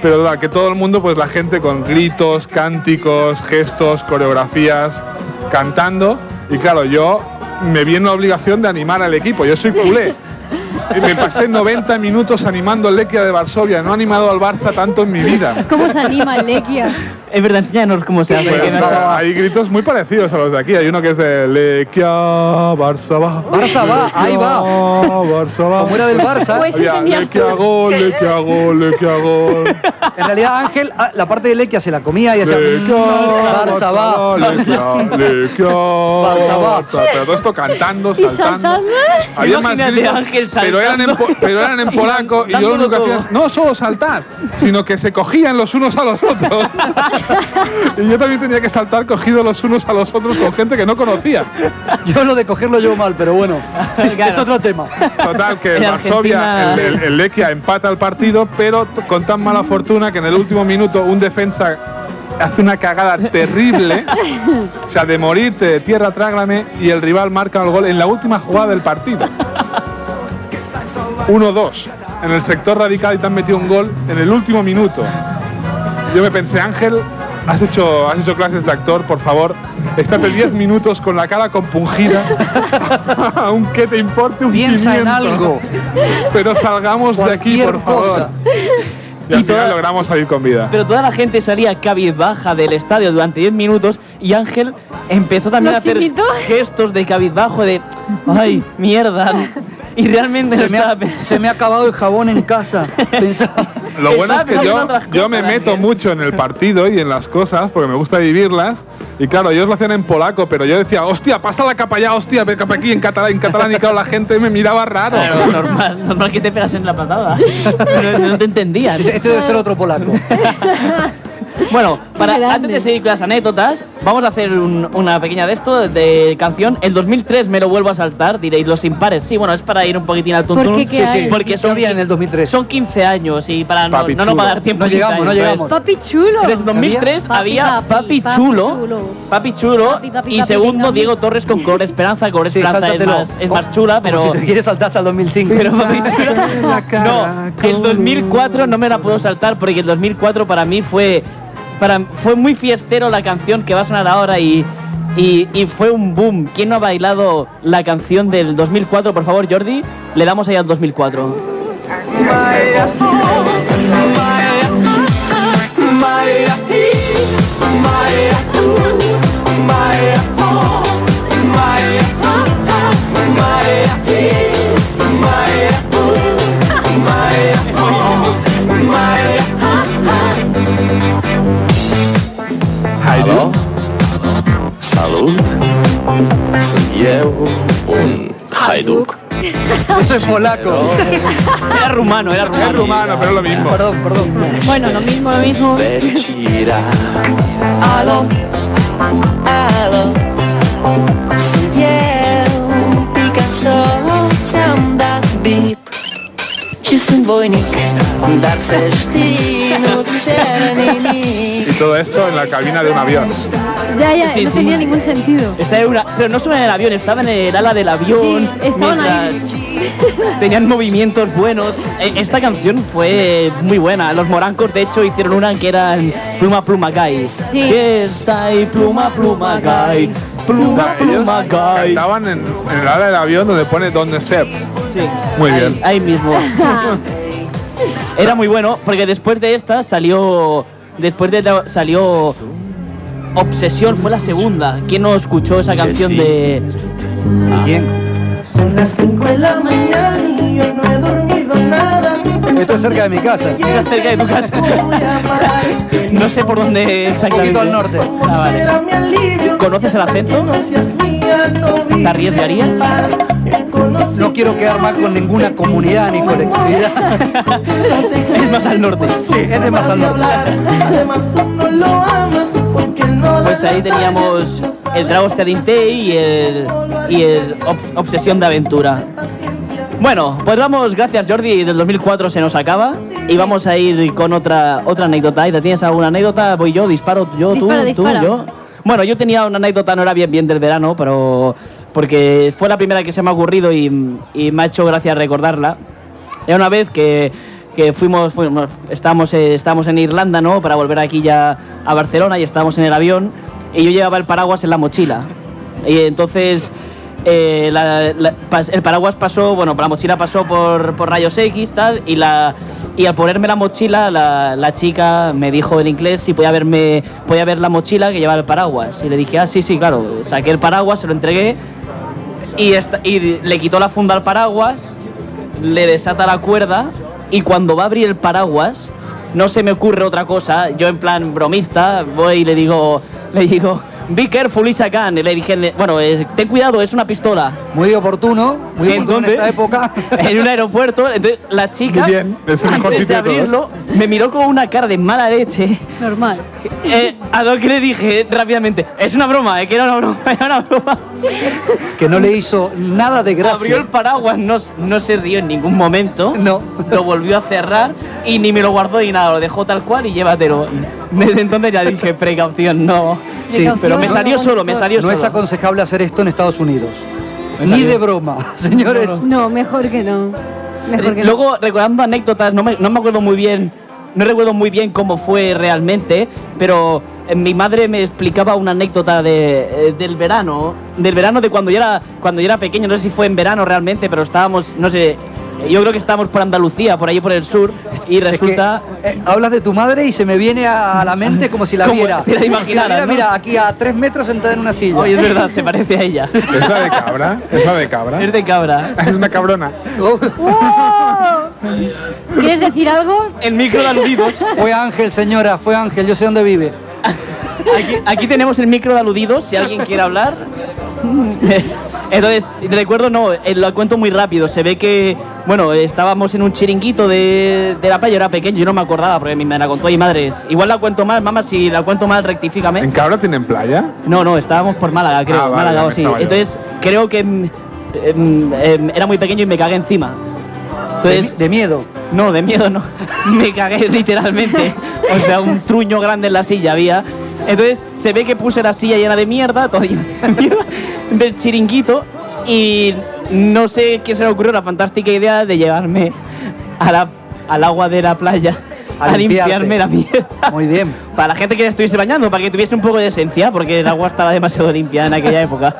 [SPEAKER 3] pero la que todo el mundo, pues la gente con gritos, cánticos, gestos, coreografías, cantando, y claro, yo me vi en la obligación de animar al equipo, yo soy culé. Y me pasé 90 minutos animando al Lequia de Varsovia. No he animado al Barça tanto en mi vida.
[SPEAKER 2] ¿Cómo se anima el Lequia?
[SPEAKER 1] Es verdad, enséñanos cómo se hace.
[SPEAKER 3] Pues,
[SPEAKER 1] que no-
[SPEAKER 3] o sea, hay gritos muy parecidos a los de aquí. Hay uno que es de Lequia, Barça va.
[SPEAKER 5] Barça va, ahí va.
[SPEAKER 3] Barça va.
[SPEAKER 5] Como era del Barça.
[SPEAKER 2] Pues-
[SPEAKER 3] Había
[SPEAKER 2] entendías
[SPEAKER 3] Lequia
[SPEAKER 2] tú.
[SPEAKER 3] gol, Lequia gol, Lequia gol.
[SPEAKER 5] En realidad Ángel, ah, la parte de Lequia se la comía y hacía...
[SPEAKER 3] Lequia,
[SPEAKER 5] Barça va.
[SPEAKER 3] Lequia, Lequia,
[SPEAKER 5] Barça va.
[SPEAKER 3] Barça. Pero todo esto cantando,
[SPEAKER 2] Y
[SPEAKER 3] saltando.
[SPEAKER 2] saltando. ¿eh?
[SPEAKER 3] Había más
[SPEAKER 1] Imagínate,
[SPEAKER 3] gritos,
[SPEAKER 1] Ángel
[SPEAKER 3] pero eran, en,
[SPEAKER 1] saltando.
[SPEAKER 3] po- pero eran en
[SPEAKER 1] Y
[SPEAKER 3] polaco y yo lo único que
[SPEAKER 1] dándolo
[SPEAKER 3] hacía es no solo saltar, sino que se cogían los unos a
[SPEAKER 2] [laughs]
[SPEAKER 3] los otros. y yo también tenía que saltar cogido los unos a los otros con gente que no conocía.
[SPEAKER 5] [laughs] Yo lo de cogerlo llevo mal, pero bueno. Es,
[SPEAKER 1] Claro.
[SPEAKER 5] es otro tema.
[SPEAKER 3] Total, que
[SPEAKER 5] [laughs]
[SPEAKER 1] En
[SPEAKER 3] el Varsovia, el,
[SPEAKER 1] Argentina-
[SPEAKER 3] el- el Lequia empata el partido, pero t- con tan mala fortuna que en el último minuto un defensa hace una cagada
[SPEAKER 5] [laughs]
[SPEAKER 3] terrible, o sea, de morirte de tierra trágame, y el rival marca el gol en la última jugada del partido. 1-2. En el sector radical y te han metido un gol en el último minuto. Yo me pensé, Ángel, has hecho, has hecho clases de actor, por favor, estate 10 minutos con la cara compungida, [laughs] aunque te importe un
[SPEAKER 5] Piensa en
[SPEAKER 3] pimiento.
[SPEAKER 5] algo.
[SPEAKER 3] Pero salgamos de aquí,
[SPEAKER 5] Cualquier
[SPEAKER 3] por favor.
[SPEAKER 5] cosa.
[SPEAKER 3] Y al
[SPEAKER 1] Y toda-
[SPEAKER 3] final logramos salir con vida.
[SPEAKER 1] Pero toda la gente salía cabizbaja del estadio durante 10 minutos y Ángel empezó también
[SPEAKER 2] ¿Nos
[SPEAKER 1] a hacer
[SPEAKER 2] imitó?
[SPEAKER 1] gestos de cabizbajo de ¡ay, mierda! Y realmente lo
[SPEAKER 5] [laughs] Se me,
[SPEAKER 1] estaba
[SPEAKER 5] ha,
[SPEAKER 1] pensando.
[SPEAKER 5] se me ha acabado el jabón en casa. Pensaba-
[SPEAKER 3] Lo bueno es
[SPEAKER 1] Estaba
[SPEAKER 3] que
[SPEAKER 1] pensando en
[SPEAKER 3] yo,
[SPEAKER 1] otras
[SPEAKER 3] yo
[SPEAKER 1] cosas,
[SPEAKER 3] me
[SPEAKER 1] Daniel.
[SPEAKER 3] meto mucho en el partido y en las cosas porque me gusta vivirlas. Y claro, ellos lo hacían en polaco, pero yo decía, hostia, pasa la capa allá, hostia, ve capa aquí en catalán, en catalán. Y claro, la gente me miraba raro. [laughs]
[SPEAKER 1] Claro, normal, normal que te pegas en la patada. No, no te entendían.
[SPEAKER 5] Dice, Este debe ser otro polaco.
[SPEAKER 1] Bueno, para,
[SPEAKER 2] grande.
[SPEAKER 1] antes de seguir con las anécdotas, vamos a hacer un- una pequeña de esto, de canción. El 2003 me lo vuelvo a saltar, diréis, los impares. Sí, bueno, es para ir un poquitín al tuntún.
[SPEAKER 2] ¿Por qué? ¿Qué Sí, sí. hay?
[SPEAKER 1] Porque
[SPEAKER 5] ¿Qué
[SPEAKER 1] son,
[SPEAKER 5] había en
[SPEAKER 1] quin-
[SPEAKER 5] el 2003?
[SPEAKER 1] son 15 años y para no,
[SPEAKER 3] Papi
[SPEAKER 1] no nos va a
[SPEAKER 3] chulo.
[SPEAKER 1] dar tiempo.
[SPEAKER 5] No
[SPEAKER 1] 15
[SPEAKER 5] llegamos, no
[SPEAKER 1] entonces-
[SPEAKER 5] llegamos.
[SPEAKER 2] Papi chulo.
[SPEAKER 1] Desde 2003
[SPEAKER 2] Papi,
[SPEAKER 1] había Papi,
[SPEAKER 2] papi, papi
[SPEAKER 1] chulo,
[SPEAKER 2] chulo.
[SPEAKER 1] Papi Chulo
[SPEAKER 2] Papi, papi,
[SPEAKER 1] y
[SPEAKER 2] papi,
[SPEAKER 1] segundo
[SPEAKER 2] venga.
[SPEAKER 1] Diego Torres con Color Esperanza. Color
[SPEAKER 5] Sí,
[SPEAKER 1] Esperanza es
[SPEAKER 5] sáltatelo.
[SPEAKER 1] más, es
[SPEAKER 5] Como-
[SPEAKER 1] más chula, pero... [laughs]
[SPEAKER 5] como si te quieres saltar hasta el 2005. [laughs]
[SPEAKER 1] Pero Papi Chulo- No, el 2004 no me la puedo saltar porque el 2004 para mí fue para fue muy fiestero la canción que va a sonar ahora y, y, y fue un boom. ¿Quién no ha bailado la canción del 2004? Por favor, Jordi, le damos ahí al 2004.
[SPEAKER 9] Aló? Salut. Sunt eu, un haiduc.
[SPEAKER 5] Eso es
[SPEAKER 1] [laughs]
[SPEAKER 5] polaco.
[SPEAKER 1] Era rumano, era
[SPEAKER 3] Es
[SPEAKER 1] rumano.
[SPEAKER 3] rumano, pero es lo mismo.
[SPEAKER 5] Perdón, perdón.
[SPEAKER 2] Bueno, lo mismo, lo mismo.
[SPEAKER 9] Fericirea. Aló? Aló? Sunt eu, Picasso, ți-am dat bip. Și sunt voinic, dar să știi, nu-ți cer nimic.
[SPEAKER 3] Y todo esto en la cabina de un avión.
[SPEAKER 2] Ya, ya,
[SPEAKER 1] Sí,
[SPEAKER 2] no
[SPEAKER 1] sí.
[SPEAKER 2] tenía ningún sentido.
[SPEAKER 1] Estaba en una- pero no estaba en el avión, estaba en el ala del avión.
[SPEAKER 2] Sí, estaban ahí.
[SPEAKER 1] mientras Tenían movimientos buenos. Eh, Esta canción fue muy buena. Los morancos, de hecho, hicieron una que era en Pluma Pluma Guy.
[SPEAKER 2] Sí.
[SPEAKER 1] Está ahí, Pluma Pluma Guy. Pluma
[SPEAKER 3] Ellos
[SPEAKER 1] Pluma Guy.
[SPEAKER 3] cantaban en, en el ala del avión donde pone Don't Step.
[SPEAKER 1] Sí.
[SPEAKER 3] Muy
[SPEAKER 1] Ahí-
[SPEAKER 3] bien.
[SPEAKER 1] Ahí mismo.
[SPEAKER 2] [laughs]
[SPEAKER 1] Era muy bueno porque después de esta salió. Después de la- salió. Obsesión fue la segunda. ¿Quién no escuchó esa canción
[SPEAKER 9] sí.
[SPEAKER 1] de.?
[SPEAKER 5] ¿Quién?
[SPEAKER 7] Son las 5 de la mañana y yo no he dormido nada.
[SPEAKER 5] Esto es cerca de mi casa.
[SPEAKER 1] Era cerca de tu
[SPEAKER 5] [laughs]
[SPEAKER 1] casa. No sé por dónde exactamente.
[SPEAKER 5] poquito al norte.
[SPEAKER 1] Ah, vale.
[SPEAKER 7] Será mi alivio.
[SPEAKER 1] ¿Conoces el acento?
[SPEAKER 7] No seas mía, no
[SPEAKER 1] ¿Te arriesgarías?
[SPEAKER 5] No quiero quedar mal con ninguna comunidad ni
[SPEAKER 1] [laughs]
[SPEAKER 5] colectividad.
[SPEAKER 1] Es más al norte.
[SPEAKER 5] Sí, es de más al norte.
[SPEAKER 7] Además tú no lo amas porque él no da
[SPEAKER 1] Pues ahí
[SPEAKER 7] la talla.
[SPEAKER 1] teníamos el Drago Steading y el, y el Ob- Obsesión de Aventura. Bueno, pues vamos, gracias Jordi, del 2004 se nos acaba y vamos a ir con otra otra anécdota. Aida, ¿Tienes alguna anécdota? Voy yo, disparo yo,
[SPEAKER 2] Dispara,
[SPEAKER 1] tú,
[SPEAKER 2] dispara.
[SPEAKER 1] tú, yo. Bueno, yo tenía una anécdota, no era bien bien del verano, pero porque fue la primera que se me ha ocurrido y, y me ha hecho gracia recordarla. Era una vez que, que fuimos, fuimos- estábamos, eh, estábamos en Irlanda, ¿no? Para volver aquí ya a Barcelona y estábamos en el avión y yo llevaba el paraguas en la mochila. Y entonces eh, la- la- pas- el paraguas pasó, bueno, la mochila pasó por, por rayos X tal, y, la, y al ponerme la mochila la, la chica me dijo en inglés si podía, verme, podía ver la mochila que llevaba el paraguas. Y le dije, ah, sí, sí, claro, saqué el paraguas, se lo entregué y, esta- y le quitó la funda al paraguas, le desata la cuerda y cuando va a abrir el paraguas, no se me ocurre otra cosa. Yo en plan bromista voy y le digo, le digo, be careful, Isa Khan. Y le dije, bueno, es- ten cuidado, es una pistola.
[SPEAKER 5] Muy oportuno, muy
[SPEAKER 1] ¿En
[SPEAKER 5] oportuno en
[SPEAKER 1] dónde? [laughs]
[SPEAKER 5] esta época.
[SPEAKER 1] en un aeropuerto. Entonces la chica,
[SPEAKER 3] Muy bien, es el mejor
[SPEAKER 1] antes de
[SPEAKER 3] sitio de todos.
[SPEAKER 1] abrirlo, me miró con una cara de mala
[SPEAKER 3] [laughs]
[SPEAKER 1] leche.
[SPEAKER 2] Normal.
[SPEAKER 1] eh, a lo que le dije rápidamente, es una broma, eh, que era una broma, [laughs] era una broma.
[SPEAKER 5] Que no le hizo nada de
[SPEAKER 1] Abrió el
[SPEAKER 5] gracia.
[SPEAKER 1] paraguas, no, no se rió en ningún momento.
[SPEAKER 5] No.
[SPEAKER 1] Lo volvió a cerrar y ni me lo guardó ni nada, lo dejó tal cual y llévatelo. Desde entonces ya dije, precaución, no. Sí,
[SPEAKER 2] Precaución,
[SPEAKER 1] pero me
[SPEAKER 2] no,
[SPEAKER 1] salió
[SPEAKER 2] no,
[SPEAKER 1] solo, me
[SPEAKER 2] no.
[SPEAKER 1] salió
[SPEAKER 5] No es
[SPEAKER 1] solo.
[SPEAKER 5] aconsejable hacer esto en Estados Unidos.
[SPEAKER 1] Me
[SPEAKER 5] Ni
[SPEAKER 1] salió.
[SPEAKER 5] de [laughs] broma, señores.
[SPEAKER 2] No, mejor que no. Mejor que no.
[SPEAKER 1] Luego, recordando anécdotas, no me, no me acuerdo muy bien, no recuerdo muy bien cómo fue realmente, pero eh, mi madre me explicaba una anécdota de, eh, del verano, del verano de cuando yo era cuando yo era pequeño, no sé si fue en verano realmente, pero estábamos, no sé, yo creo que estábamos por Andalucía, por allí por el sur, y
[SPEAKER 5] Es que,
[SPEAKER 1] resulta
[SPEAKER 5] eh, hablas de tu madre y se me viene a la mente como si la
[SPEAKER 1] Como
[SPEAKER 5] viera.
[SPEAKER 1] te la
[SPEAKER 5] Como si
[SPEAKER 1] imaginaras,
[SPEAKER 5] viera,
[SPEAKER 1] ¿no?
[SPEAKER 5] Mira, aquí a tres metros sentada en una silla.
[SPEAKER 1] Oye, es verdad, se parece a ella.
[SPEAKER 3] ¿Es la de cabra? ¿Es la de cabra?
[SPEAKER 1] Es de cabra.
[SPEAKER 3] Es una cabrona.
[SPEAKER 5] [laughs] Oh.
[SPEAKER 2] ¡Wow! ¿Quieres decir algo?
[SPEAKER 1] El micro de aludidos.
[SPEAKER 5] Fue Ángel, señora, fue Ángel, yo sé dónde vive.
[SPEAKER 1] Aquí, aquí tenemos el micro de aludidos, si alguien quiere hablar. Entonces, recuerdo, no, eh, lo cuento muy rápido. Se ve que, bueno, estábamos en un chiringuito de, de la playa, yo era pequeño, yo no me acordaba porque mi- me la contó mi madre. Igual la cuento mal, mamá, si la cuento mal,
[SPEAKER 3] ¿En
[SPEAKER 1] rectifícame.
[SPEAKER 3] Cabra tienen playa?
[SPEAKER 1] No, no, estábamos por Málaga, creo.
[SPEAKER 3] Ah, vale,
[SPEAKER 1] Málaga
[SPEAKER 3] ya
[SPEAKER 1] o
[SPEAKER 3] me
[SPEAKER 1] sí.
[SPEAKER 3] estaba yo.
[SPEAKER 1] Entonces, creo que mm, em, em, era muy pequeño y me cagué encima.
[SPEAKER 5] De,
[SPEAKER 1] Entonces,
[SPEAKER 5] de miedo.
[SPEAKER 1] no, de miedo no. [laughs] Me cagué literalmente. O sea, un truño grande en la silla había. Entonces se ve que puse la silla llena de mierda, todo lleno de [laughs] mierda, del chiringuito. Y no sé quién se le ocurrió la fantástica idea de llevarme a la- al agua de la playa
[SPEAKER 5] A
[SPEAKER 1] a, limpiarme
[SPEAKER 5] limpiarte.
[SPEAKER 1] la mierda.
[SPEAKER 5] Muy bien.
[SPEAKER 1] Para la gente que estuviese bañando, para que tuviese un poco de esencia, porque el agua estaba demasiado limpia en aquella
[SPEAKER 5] [laughs]
[SPEAKER 1] época.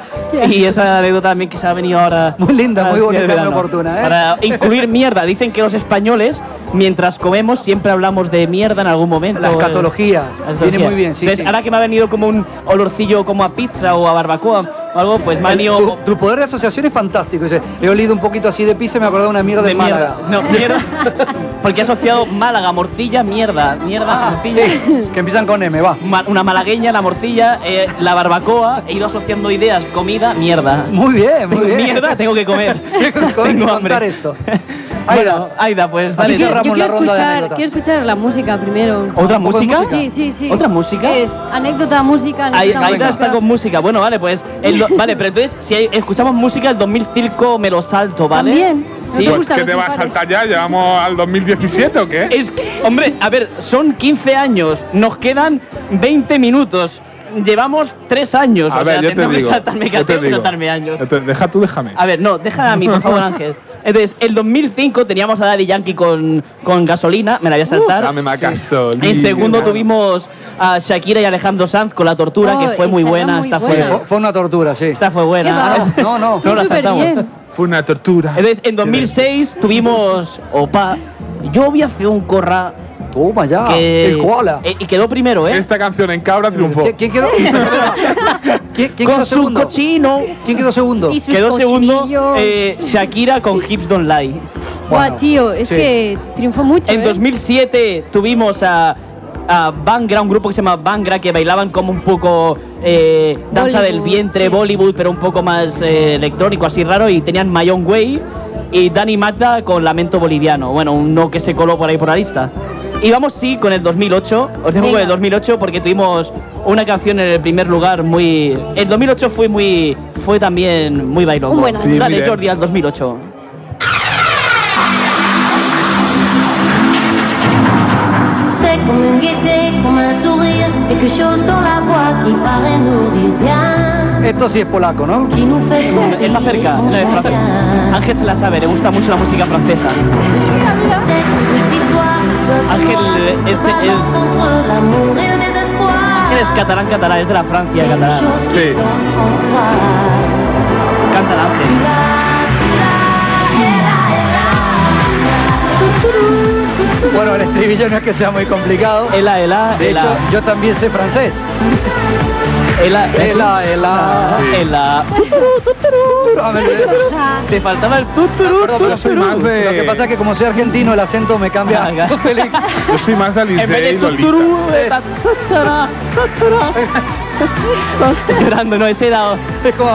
[SPEAKER 1] Y esa anécdota también que se ha venido ahora.
[SPEAKER 5] Muy linda,
[SPEAKER 1] ahora
[SPEAKER 5] muy
[SPEAKER 1] sí, del
[SPEAKER 5] bonita, muy
[SPEAKER 1] verano.
[SPEAKER 5] oportuna, ¿eh? [laughs]
[SPEAKER 1] Para incluir mierda. Dicen que los españoles, mientras comemos, siempre hablamos de mierda en algún momento.
[SPEAKER 5] La escatología.
[SPEAKER 1] La escatología.
[SPEAKER 5] Viene muy bien, sí.
[SPEAKER 1] Entonces,
[SPEAKER 5] sí.
[SPEAKER 1] ahora que me ha venido como un olorcillo como a pizza o a barbacoa o algo, pues me ha
[SPEAKER 5] El-
[SPEAKER 1] venido.
[SPEAKER 5] tu, tu poder de asociación es fantástico. Dice, he olido un poquito así de pizza y me he acordado de una mierda de,
[SPEAKER 1] de mierda.
[SPEAKER 5] Málaga.
[SPEAKER 1] No, mierda.
[SPEAKER 5] [laughs]
[SPEAKER 1] Porque he asociado Málaga, morcilla, mierda. Mierda,
[SPEAKER 5] Ah,
[SPEAKER 1] morcilla.
[SPEAKER 5] sí, que empiezan con M, va.
[SPEAKER 1] Ma- una malagueña, la morcilla, eh, la barbacoa, he ido asociando ideas, comida, mierda.
[SPEAKER 5] Muy bien, muy bien.
[SPEAKER 1] Mierda, tengo que comer.
[SPEAKER 5] [laughs] Tengo que comer y
[SPEAKER 1] Tengo
[SPEAKER 5] contar
[SPEAKER 1] hambre. [laughs]
[SPEAKER 5] esto.
[SPEAKER 1] Bueno,
[SPEAKER 5] Aida.
[SPEAKER 1] Aida, pues dale.
[SPEAKER 5] Así
[SPEAKER 2] Yo-
[SPEAKER 5] cerramos
[SPEAKER 2] yo
[SPEAKER 5] la
[SPEAKER 2] quiero
[SPEAKER 5] ronda de
[SPEAKER 2] escuchar,
[SPEAKER 5] anécdotas.
[SPEAKER 2] quiero escuchar la música primero.
[SPEAKER 1] ¿Otra
[SPEAKER 5] ¿Un poco de
[SPEAKER 1] música?
[SPEAKER 5] música?
[SPEAKER 2] Sí, sí, sí.
[SPEAKER 1] ¿Otra música?
[SPEAKER 2] Es anécdota, música,
[SPEAKER 1] Ahí-
[SPEAKER 2] anécdota,
[SPEAKER 1] Aida
[SPEAKER 2] música.
[SPEAKER 1] está con música. Bueno, vale, pues. el do- vale, pero entonces, si hay- escuchamos música, el 2005 me lo salto, ¿vale?
[SPEAKER 2] También. ¿No
[SPEAKER 1] Sí.
[SPEAKER 2] te
[SPEAKER 3] Pues,
[SPEAKER 2] gustan
[SPEAKER 3] ¿Qué
[SPEAKER 2] los
[SPEAKER 3] te vas a
[SPEAKER 2] impares?
[SPEAKER 3] saltar ya? ¿Llevamos al 2017 o qué?
[SPEAKER 1] Es que, hombre, a ver, son 15 años, nos quedan 20 minutos. Llevamos 3 años,
[SPEAKER 3] A
[SPEAKER 1] Pues, o
[SPEAKER 3] ver,
[SPEAKER 1] sea,
[SPEAKER 3] yo te
[SPEAKER 1] tengo que
[SPEAKER 3] digo.
[SPEAKER 1] saltarme,
[SPEAKER 3] yo te
[SPEAKER 1] tengo que
[SPEAKER 3] digo.
[SPEAKER 1] saltarme años.
[SPEAKER 3] Yo te- Deja tú, déjame.
[SPEAKER 1] A ver, no, deja a mí, por favor, Ángel. Entonces, el 2005 teníamos a Daddy Yankee con, con gasolina, me la voy a saltar.
[SPEAKER 3] Dame más gasolina.
[SPEAKER 1] en segundo tuvimos a Shakira y Alejandro Sanz con La Tortura,
[SPEAKER 2] Oh,
[SPEAKER 1] que fue muy
[SPEAKER 2] esa era
[SPEAKER 1] buena.
[SPEAKER 2] muy
[SPEAKER 1] Esta
[SPEAKER 5] Sí,
[SPEAKER 2] buena.
[SPEAKER 1] fue,
[SPEAKER 5] fue, fue una tortura, sí.
[SPEAKER 1] esta fue buena. ¿eh?
[SPEAKER 2] [laughs] Qué va.
[SPEAKER 5] No, no,
[SPEAKER 2] Tú
[SPEAKER 1] no la
[SPEAKER 2] súper
[SPEAKER 1] saltamos.
[SPEAKER 2] bien.
[SPEAKER 3] Fue una tortura.
[SPEAKER 1] Entonces, en 2006 tuvimos Opa. Yo vi hacer un corra
[SPEAKER 5] Toma
[SPEAKER 2] Ah,
[SPEAKER 5] ya.
[SPEAKER 1] que.
[SPEAKER 5] El koala.
[SPEAKER 1] eh, y quedó primero,
[SPEAKER 2] Este-
[SPEAKER 1] ¿eh?
[SPEAKER 3] Esta canción en Cabra triunfó.
[SPEAKER 5] ¿Qui-
[SPEAKER 1] [laughs]
[SPEAKER 5] ¿Quién quedó? ¿Quién, quién
[SPEAKER 1] con
[SPEAKER 5] quedó
[SPEAKER 1] su
[SPEAKER 5] segundo?
[SPEAKER 1] cochino.
[SPEAKER 5] ¿Quién quedó segundo?
[SPEAKER 2] Y sus
[SPEAKER 1] Quedó segundo
[SPEAKER 2] cochinillos.
[SPEAKER 1] eh, Shakira con Hips Don't Lie.
[SPEAKER 2] Buah,
[SPEAKER 5] Bueno,
[SPEAKER 2] tío, es
[SPEAKER 5] sí.
[SPEAKER 2] que triunfó mucho.
[SPEAKER 1] En
[SPEAKER 2] ¿eh?
[SPEAKER 1] 2007 tuvimos a, a Bangra, un grupo que se llama Bangra, que bailaban como un poco eh, danza
[SPEAKER 2] Bollywood,
[SPEAKER 1] del vientre,
[SPEAKER 2] sí.
[SPEAKER 1] Bollywood, pero un poco más eh, electrónico, así raro, y tenían My Own Way y Danny Mata con Lamento Boliviano. Bueno, un no que se coló por ahí por la lista. Y vamos, sí, con el 2008. Os dejo con
[SPEAKER 2] Venga.
[SPEAKER 1] el 2008 porque tuvimos una canción en el primer lugar muy... El 2008 fue muy... Fue también muy bailongo.
[SPEAKER 2] Un buen año.
[SPEAKER 3] Sí,
[SPEAKER 1] Dale,
[SPEAKER 3] miren.
[SPEAKER 1] Jordi, al 2008.
[SPEAKER 10] C'est comme une gaieté, comme un sourire, et quelque chose dans la voix qui paraît nous dire bien,
[SPEAKER 5] Esto sí es polaco, ¿no?
[SPEAKER 10] qui nous fait
[SPEAKER 1] Es
[SPEAKER 10] sentir
[SPEAKER 1] más cerca.
[SPEAKER 10] qu'on
[SPEAKER 1] no, es
[SPEAKER 10] se
[SPEAKER 1] más cerca.
[SPEAKER 10] bien.
[SPEAKER 1] Ángel se la sabe, le gusta mucho la música francesa.
[SPEAKER 10] C'est une histoire, peuple
[SPEAKER 1] Ángel,
[SPEAKER 10] noir qui
[SPEAKER 1] es-
[SPEAKER 10] se balance
[SPEAKER 1] es-
[SPEAKER 10] entre l'amour et le désespoir.
[SPEAKER 1] Ángel es catalán, catalán, es de la Francia,
[SPEAKER 10] Quelque
[SPEAKER 1] catalán.
[SPEAKER 10] chose qui
[SPEAKER 3] Sí.
[SPEAKER 10] danse en toi.
[SPEAKER 1] Catalán, sí.
[SPEAKER 10] Tu l'as, tu l'as, et là, et là. Toutoulou, toutoulou.
[SPEAKER 5] Bueno, el estribillo no es que sea muy complicado.
[SPEAKER 1] Ela, ela,
[SPEAKER 5] De
[SPEAKER 1] ela.
[SPEAKER 5] hecho, yo también sé francés.
[SPEAKER 1] ela,
[SPEAKER 5] Ela, ela.
[SPEAKER 1] ela, ela. [laughs]
[SPEAKER 5] A ver, eh.
[SPEAKER 1] Te faltaba el tuturu,
[SPEAKER 5] Perdón, pero soy
[SPEAKER 3] Perú.
[SPEAKER 5] más de- Lo que pasa es que como soy argentino el acento me cambia.
[SPEAKER 1] Ah,
[SPEAKER 5] [laughs]
[SPEAKER 1] ya.
[SPEAKER 5] Félix.
[SPEAKER 3] Yo soy más de
[SPEAKER 1] En
[SPEAKER 3] Alice ¿eh? y
[SPEAKER 1] vez de
[SPEAKER 3] Lolita.
[SPEAKER 1] tuturu, era tachara, tachara. [laughs] Llorando, no, ese era...
[SPEAKER 5] Es como,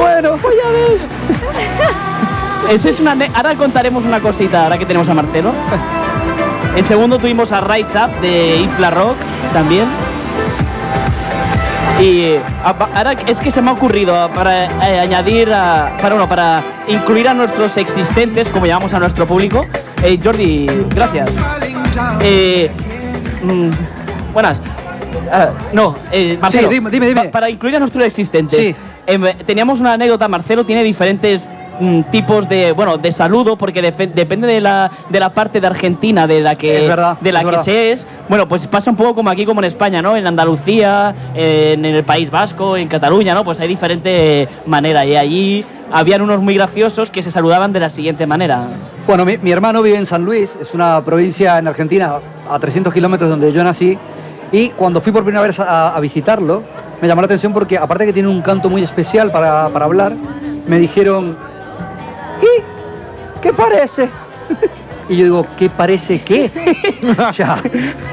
[SPEAKER 5] bueno, voy a
[SPEAKER 1] [laughs]
[SPEAKER 5] ver.
[SPEAKER 1] Ese es una... ne- Ahora contaremos una cosita, ahora que tenemos a Marcelo. En segundo tuvimos a Rise Up de Infla Rock también. Y eh, a- pa- ahora es que se me ha ocurrido ah, para eh, añadir, a- para uno, para incluir a nuestros existentes, como llamamos a nuestro público. Eh, Jordi, gracias. Eh, mm, buenas. Ah, no, eh, Marcelo,
[SPEAKER 5] dime, dime, dime.
[SPEAKER 1] pa- para incluir a nuestros existentes.
[SPEAKER 5] Sí.
[SPEAKER 1] Em, teníamos una anécdota, Marcelo tiene diferentes mm, tipos de bueno de saludo porque defe- depende de la, de la parte de Argentina de la que
[SPEAKER 5] Es verdad,
[SPEAKER 1] de la
[SPEAKER 5] es
[SPEAKER 1] que
[SPEAKER 5] verdad.
[SPEAKER 1] se es bueno pues pasa un poco como aquí como en España no en Andalucía en, el País Vasco en Cataluña no pues hay diferente manera y allí habían unos muy graciosos que se saludaban de la siguiente
[SPEAKER 5] [laughs]
[SPEAKER 1] manera
[SPEAKER 5] Bueno, mi, mi hermano vive en San Luis, es una provincia en Argentina a 300 kilómetros donde yo nací. Y cuando fui por primera vez a, a visitarlo, me llamó la atención porque, aparte que tiene un canto muy especial para, para hablar, me dijeron, ¿y qué parece? Y yo digo, ¿qué parece
[SPEAKER 2] [laughs]
[SPEAKER 5] qué? o sea,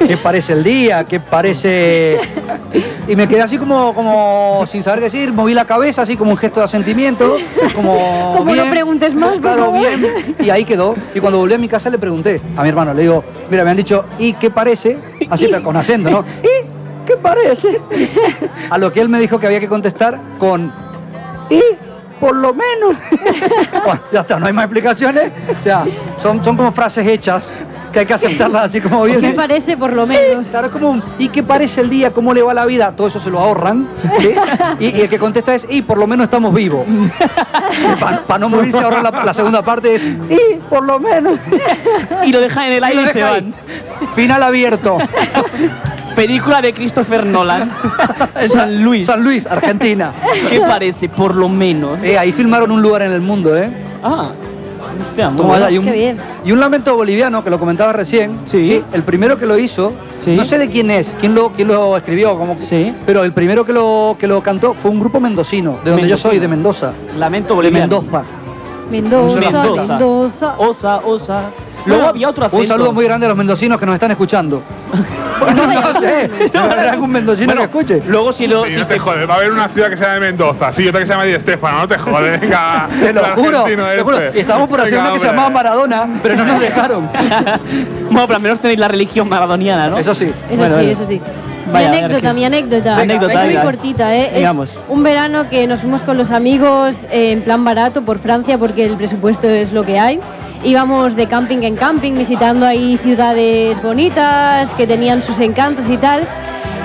[SPEAKER 5] ¿qué parece el día? ¿Qué parece...? Y me quedé así como, como sin saber qué decir, moví la cabeza así como un gesto de asentimiento, como...
[SPEAKER 2] [laughs] Como no
[SPEAKER 5] bien,
[SPEAKER 2] preguntes más, por
[SPEAKER 5] claro,
[SPEAKER 2] favor.
[SPEAKER 5] bien. Y ahí quedó. Y cuando volví a mi casa le pregunté a mi hermano, le digo, mira, me han dicho, ¿y qué parece? Así, pero con
[SPEAKER 2] [laughs]
[SPEAKER 5] acento, ¿no? ¿Y qué parece? A lo que él me dijo que había que contestar con, ¿y? Por lo menos. [laughs] Bueno, ya está, no hay más explicaciones. O sea, son, son como frases hechas que hay que aceptarlas así como
[SPEAKER 2] ¿Qué
[SPEAKER 5] bien.
[SPEAKER 2] parece por lo menos?
[SPEAKER 5] Claro, es como un, ¿y qué parece el día? ¿Cómo le va la vida? Todo eso se lo ahorran.
[SPEAKER 1] [laughs]
[SPEAKER 5] ¿sí? Y, y el que contesta es, y por lo menos estamos vivos. Para no morirse ahorra la, la segunda parte es, y por
[SPEAKER 1] [laughs]
[SPEAKER 5] lo menos.
[SPEAKER 1] Y lo dejan en el
[SPEAKER 5] Y lo
[SPEAKER 1] aire y se
[SPEAKER 5] deja
[SPEAKER 1] van.
[SPEAKER 5] ahí.
[SPEAKER 1] [laughs]
[SPEAKER 5] Final abierto.
[SPEAKER 1] Película de Christopher
[SPEAKER 5] [laughs]
[SPEAKER 1] Nolan. San Luis.
[SPEAKER 5] San Luis, Argentina.
[SPEAKER 1] ¿Qué parece? Por lo menos.
[SPEAKER 5] Eh, ahí filmaron un lugar en el mundo, ¿eh?
[SPEAKER 1] Ah. Hostia, muy
[SPEAKER 5] Toma,
[SPEAKER 1] bueno.
[SPEAKER 5] hay un-
[SPEAKER 2] Qué bien.
[SPEAKER 5] Y un lamento boliviano que lo comentaba recién.
[SPEAKER 1] Sí.
[SPEAKER 5] El primero que lo hizo,
[SPEAKER 1] Sí.
[SPEAKER 5] no sé de quién es, quién lo, quién lo escribió, cómo-
[SPEAKER 1] Sí.
[SPEAKER 5] pero el primero que lo, que lo cantó fue un grupo mendocino, de donde yo
[SPEAKER 1] Mendocino.
[SPEAKER 5] soy, de Mendoza.
[SPEAKER 1] Lamento
[SPEAKER 5] De
[SPEAKER 1] boliviano.
[SPEAKER 5] Mendoza.
[SPEAKER 2] Mendoza,
[SPEAKER 1] Mendoza.
[SPEAKER 2] Mendoza.
[SPEAKER 1] Osa, osa. Luego había otro acento.
[SPEAKER 5] Ah, Un saludo muy grande a los mendocinos que nos
[SPEAKER 1] [laughs]
[SPEAKER 5] están escuchando. no, no sé, habrá algún mendocino
[SPEAKER 1] Bueno,
[SPEAKER 5] que escuche.
[SPEAKER 1] Luego si lo...
[SPEAKER 3] Sí,
[SPEAKER 1] si
[SPEAKER 3] no
[SPEAKER 1] se
[SPEAKER 3] te jodes, va a haber una ciudad que se llama Mendoza, sí, otra que se llama Di Estefano, no te jodes, venga.
[SPEAKER 5] Te lo
[SPEAKER 3] el
[SPEAKER 5] juro,
[SPEAKER 3] argentino
[SPEAKER 5] te juro.
[SPEAKER 3] este.
[SPEAKER 5] Y estábamos por hacer
[SPEAKER 3] Venga,
[SPEAKER 5] una que se
[SPEAKER 3] hombre.
[SPEAKER 5] llamaba Maradona, pero
[SPEAKER 1] [laughs]
[SPEAKER 5] no nos dejaron.
[SPEAKER 1] [laughs] bueno, pero al menos tenéis la religión maradoniana, ¿no?
[SPEAKER 5] Eso sí.
[SPEAKER 2] Eso
[SPEAKER 1] Bueno,
[SPEAKER 2] sí,
[SPEAKER 1] bueno.
[SPEAKER 2] eso sí.
[SPEAKER 1] Vaya, a
[SPEAKER 2] mi
[SPEAKER 1] ver,
[SPEAKER 2] anécdota,
[SPEAKER 1] sí.
[SPEAKER 2] mi anécdota.
[SPEAKER 1] Venga, anécdota,
[SPEAKER 2] es muy
[SPEAKER 1] venga.
[SPEAKER 2] cortita, ¿eh? Es
[SPEAKER 1] Digamos.
[SPEAKER 2] un verano que nos fuimos con los amigos eh, en plan barato por Francia porque el presupuesto es lo que hay. Íbamos de camping en camping visitando ahí ciudades bonitas que tenían sus encantos y tal.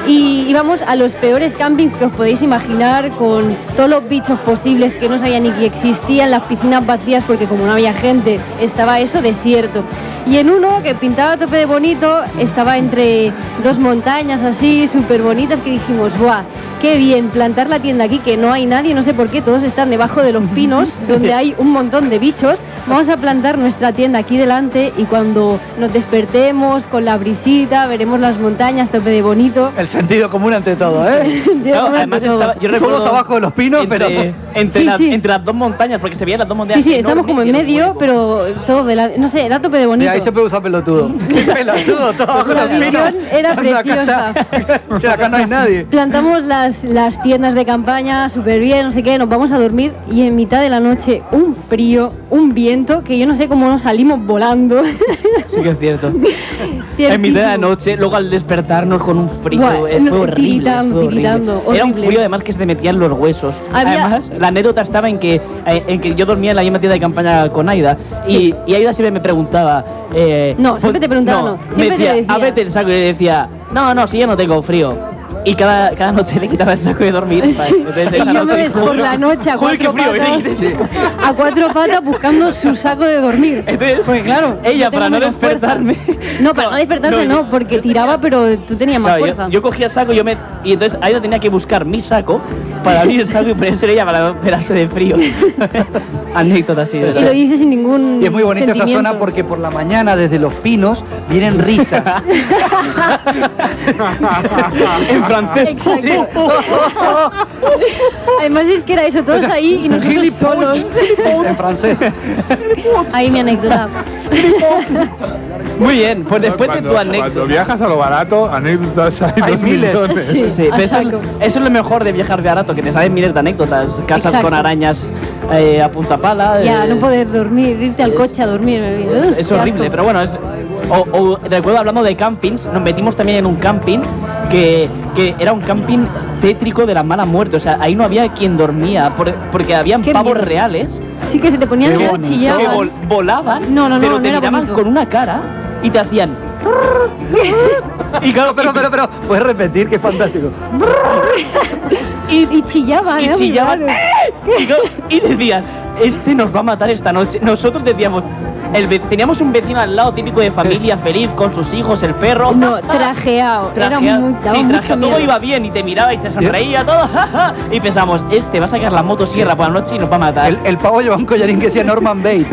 [SPEAKER 2] Y íbamos a los peores campings que os podéis imaginar, con todos los bichos posibles que no sabía ni que existían, las piscinas vacías, porque como no había gente, estaba eso desierto. Y en uno que pintaba a tope de bonito, estaba entre dos montañas así, súper bonitas, que dijimos, ¡guau! Qué bien plantar la tienda aquí, que no hay nadie, no sé por qué, todos están debajo de los pinos, donde hay un montón de bichos. Vamos a plantar nuestra tienda aquí delante y cuando nos despertemos con la brisita, veremos las montañas, tope de bonito.
[SPEAKER 5] El sentido común ante
[SPEAKER 2] [laughs]
[SPEAKER 5] todo, ¿eh?
[SPEAKER 2] Dios,
[SPEAKER 1] Claro,
[SPEAKER 2] me
[SPEAKER 1] además
[SPEAKER 2] tocó.
[SPEAKER 1] estaba, yo
[SPEAKER 5] Todos
[SPEAKER 1] recuerdo
[SPEAKER 5] abajo de los pinos,
[SPEAKER 1] entre,
[SPEAKER 5] pero-
[SPEAKER 1] [laughs] entre,
[SPEAKER 2] Sí,
[SPEAKER 1] las-
[SPEAKER 2] sí.
[SPEAKER 1] entre las dos montañas, porque se veían las dos montañas.
[SPEAKER 2] Sí, sí, estamos como en
[SPEAKER 1] enormes y el
[SPEAKER 2] medio,
[SPEAKER 1] hueco.
[SPEAKER 2] pero todo de la, no sé, era tope de
[SPEAKER 5] De
[SPEAKER 2] bonito.
[SPEAKER 5] ahí se puede usar pelotudo.
[SPEAKER 1] [laughs]
[SPEAKER 5] Qué pelotudo, todo abajo de
[SPEAKER 2] La
[SPEAKER 5] los pinos.
[SPEAKER 2] visión era
[SPEAKER 5] Anda, acá está. [laughs] O sea, acá no hay nadie.
[SPEAKER 2] Plantamos las, las tiendas de campaña súper bien, no sé qué, nos vamos a dormir y en mitad de la noche un frío, un viento, que yo no sé cómo nos salimos volando. [laughs]
[SPEAKER 1] Sí que es cierto. en mitad de la noche, luego al despertarnos con un frío,
[SPEAKER 2] Buah,
[SPEAKER 1] eh, fue
[SPEAKER 2] no,
[SPEAKER 1] horrible.
[SPEAKER 2] tiritando,
[SPEAKER 1] fue horrible.
[SPEAKER 2] tiritando,
[SPEAKER 1] Era un
[SPEAKER 2] horrible.
[SPEAKER 1] frío además que se te metían los huesos.
[SPEAKER 2] Había-
[SPEAKER 1] Además, la anécdota estaba en que, eh, en que yo dormía en la misma tienda de campaña con Aida y, y Aida siempre me preguntaba... eh,
[SPEAKER 2] No, siempre
[SPEAKER 1] pon-
[SPEAKER 2] te preguntaba, no,
[SPEAKER 1] me
[SPEAKER 2] siempre te
[SPEAKER 1] decía,
[SPEAKER 2] decía.
[SPEAKER 1] "Ábrete el saco y le decía, no, no, si yo no tengo frío. Y cada, cada noche le quitaba el saco de dormir.
[SPEAKER 2] [laughs] Sí.
[SPEAKER 1] Entonces, esa
[SPEAKER 2] Y yo me
[SPEAKER 1] noche
[SPEAKER 2] ves
[SPEAKER 1] dije,
[SPEAKER 2] por
[SPEAKER 1] "Joder,
[SPEAKER 2] la noche a
[SPEAKER 1] joder, qué frío,
[SPEAKER 2] cuatro
[SPEAKER 1] [laughs] ¿eh?".
[SPEAKER 2] patas,
[SPEAKER 1] Sí.
[SPEAKER 2] [laughs] a cuatro patas buscando su saco
[SPEAKER 1] [laughs]
[SPEAKER 2] de dormir.
[SPEAKER 1] Entonces,
[SPEAKER 2] Porque Pues claro,
[SPEAKER 1] ella
[SPEAKER 2] yo tengo
[SPEAKER 1] para no
[SPEAKER 2] menos fuerza.
[SPEAKER 1] despertarme. [laughs]
[SPEAKER 2] No, para no despertarte
[SPEAKER 1] yo-
[SPEAKER 2] no, porque
[SPEAKER 1] yo tenía-
[SPEAKER 2] tiraba, pero tú tenías más
[SPEAKER 1] Claro, yo-
[SPEAKER 2] fuerza.
[SPEAKER 1] yo, cogía el saco yo me, y entonces Aida tenía que buscar mi saco para abrir el saco y ponerse ella para no pedarse de frío. [laughs] Anécdota así. de
[SPEAKER 2] Y
[SPEAKER 1] verdad.
[SPEAKER 2] lo hice sin ningún
[SPEAKER 5] Y es muy bonita esa
[SPEAKER 2] sentimiento.
[SPEAKER 5] zona porque por la mañana desde los pinos
[SPEAKER 1] [laughs]
[SPEAKER 5] vienen risas.
[SPEAKER 1] [laughs] en francés.
[SPEAKER 2] [laughs] Exacto. Además es que era eso, todos ahí y nosotros solos.
[SPEAKER 1] [laughs]
[SPEAKER 2] [laughs]
[SPEAKER 5] en francés.
[SPEAKER 2] Ahí mi anécdota.
[SPEAKER 1] Muy bien, pues después de
[SPEAKER 3] cuando,
[SPEAKER 1] tu
[SPEAKER 3] Cuando
[SPEAKER 1] anécdota.
[SPEAKER 3] viajas a lo barato, anécdotas hay,
[SPEAKER 5] Hay
[SPEAKER 3] dos
[SPEAKER 5] miles.
[SPEAKER 3] millones.
[SPEAKER 2] Sí,
[SPEAKER 1] Sí,
[SPEAKER 2] a
[SPEAKER 1] pero eso,
[SPEAKER 2] saco.
[SPEAKER 1] eso es lo mejor de viajar de barato, que te sabes miles de anécdotas. Casas
[SPEAKER 2] Exacto.
[SPEAKER 1] con arañas eh, a punta pala.
[SPEAKER 2] Ya,
[SPEAKER 1] eh,
[SPEAKER 2] no poder dormir, irte al
[SPEAKER 1] es-
[SPEAKER 2] coche a dormir.
[SPEAKER 1] Pues Es, es
[SPEAKER 2] qué
[SPEAKER 1] horrible,
[SPEAKER 2] asco.
[SPEAKER 1] pero bueno, es, o, o, recuerdo hablando de campings, nos metimos también en un camping que, que era un camping tétrico de la mala muerte, o sea, ahí no había quien dormía, por- porque habían
[SPEAKER 2] Qué
[SPEAKER 1] pavos
[SPEAKER 2] miedo.
[SPEAKER 1] reales
[SPEAKER 2] Sí que se te ponían
[SPEAKER 5] Qué
[SPEAKER 2] los
[SPEAKER 5] bonito.
[SPEAKER 1] que
[SPEAKER 2] chillaban.
[SPEAKER 1] vol- volaban,
[SPEAKER 2] No, no, no,
[SPEAKER 1] pero
[SPEAKER 2] no
[SPEAKER 1] te
[SPEAKER 2] era
[SPEAKER 1] miraban
[SPEAKER 2] bonito.
[SPEAKER 1] con una cara y te
[SPEAKER 2] [laughs]
[SPEAKER 1] hacían... y claro,
[SPEAKER 5] Pero, pero, pero, puedes repetir, qué fantástico.
[SPEAKER 1] y-
[SPEAKER 2] Y chillaban,
[SPEAKER 1] y
[SPEAKER 2] era muy
[SPEAKER 1] chillaban
[SPEAKER 2] raro.
[SPEAKER 1] "¡Eh!", [laughs] y go- y decían este nos va a matar esta noche nosotros decíamos el ve- teníamos un vecino al lado típico de familia feliz con sus hijos el perro
[SPEAKER 2] No, trajeado. Era
[SPEAKER 1] trajeado,
[SPEAKER 2] muy, daba
[SPEAKER 1] sí,
[SPEAKER 2] mucho
[SPEAKER 1] trajeado,
[SPEAKER 2] miedo.
[SPEAKER 1] todo iba bien y te miraba y te sonreía todo [laughs] y pensamos este va a sacar la motosierra por la noche y nos va a matar
[SPEAKER 5] El, el pavo llevaba un collarín que decía
[SPEAKER 1] [laughs]
[SPEAKER 5] Norman Bates.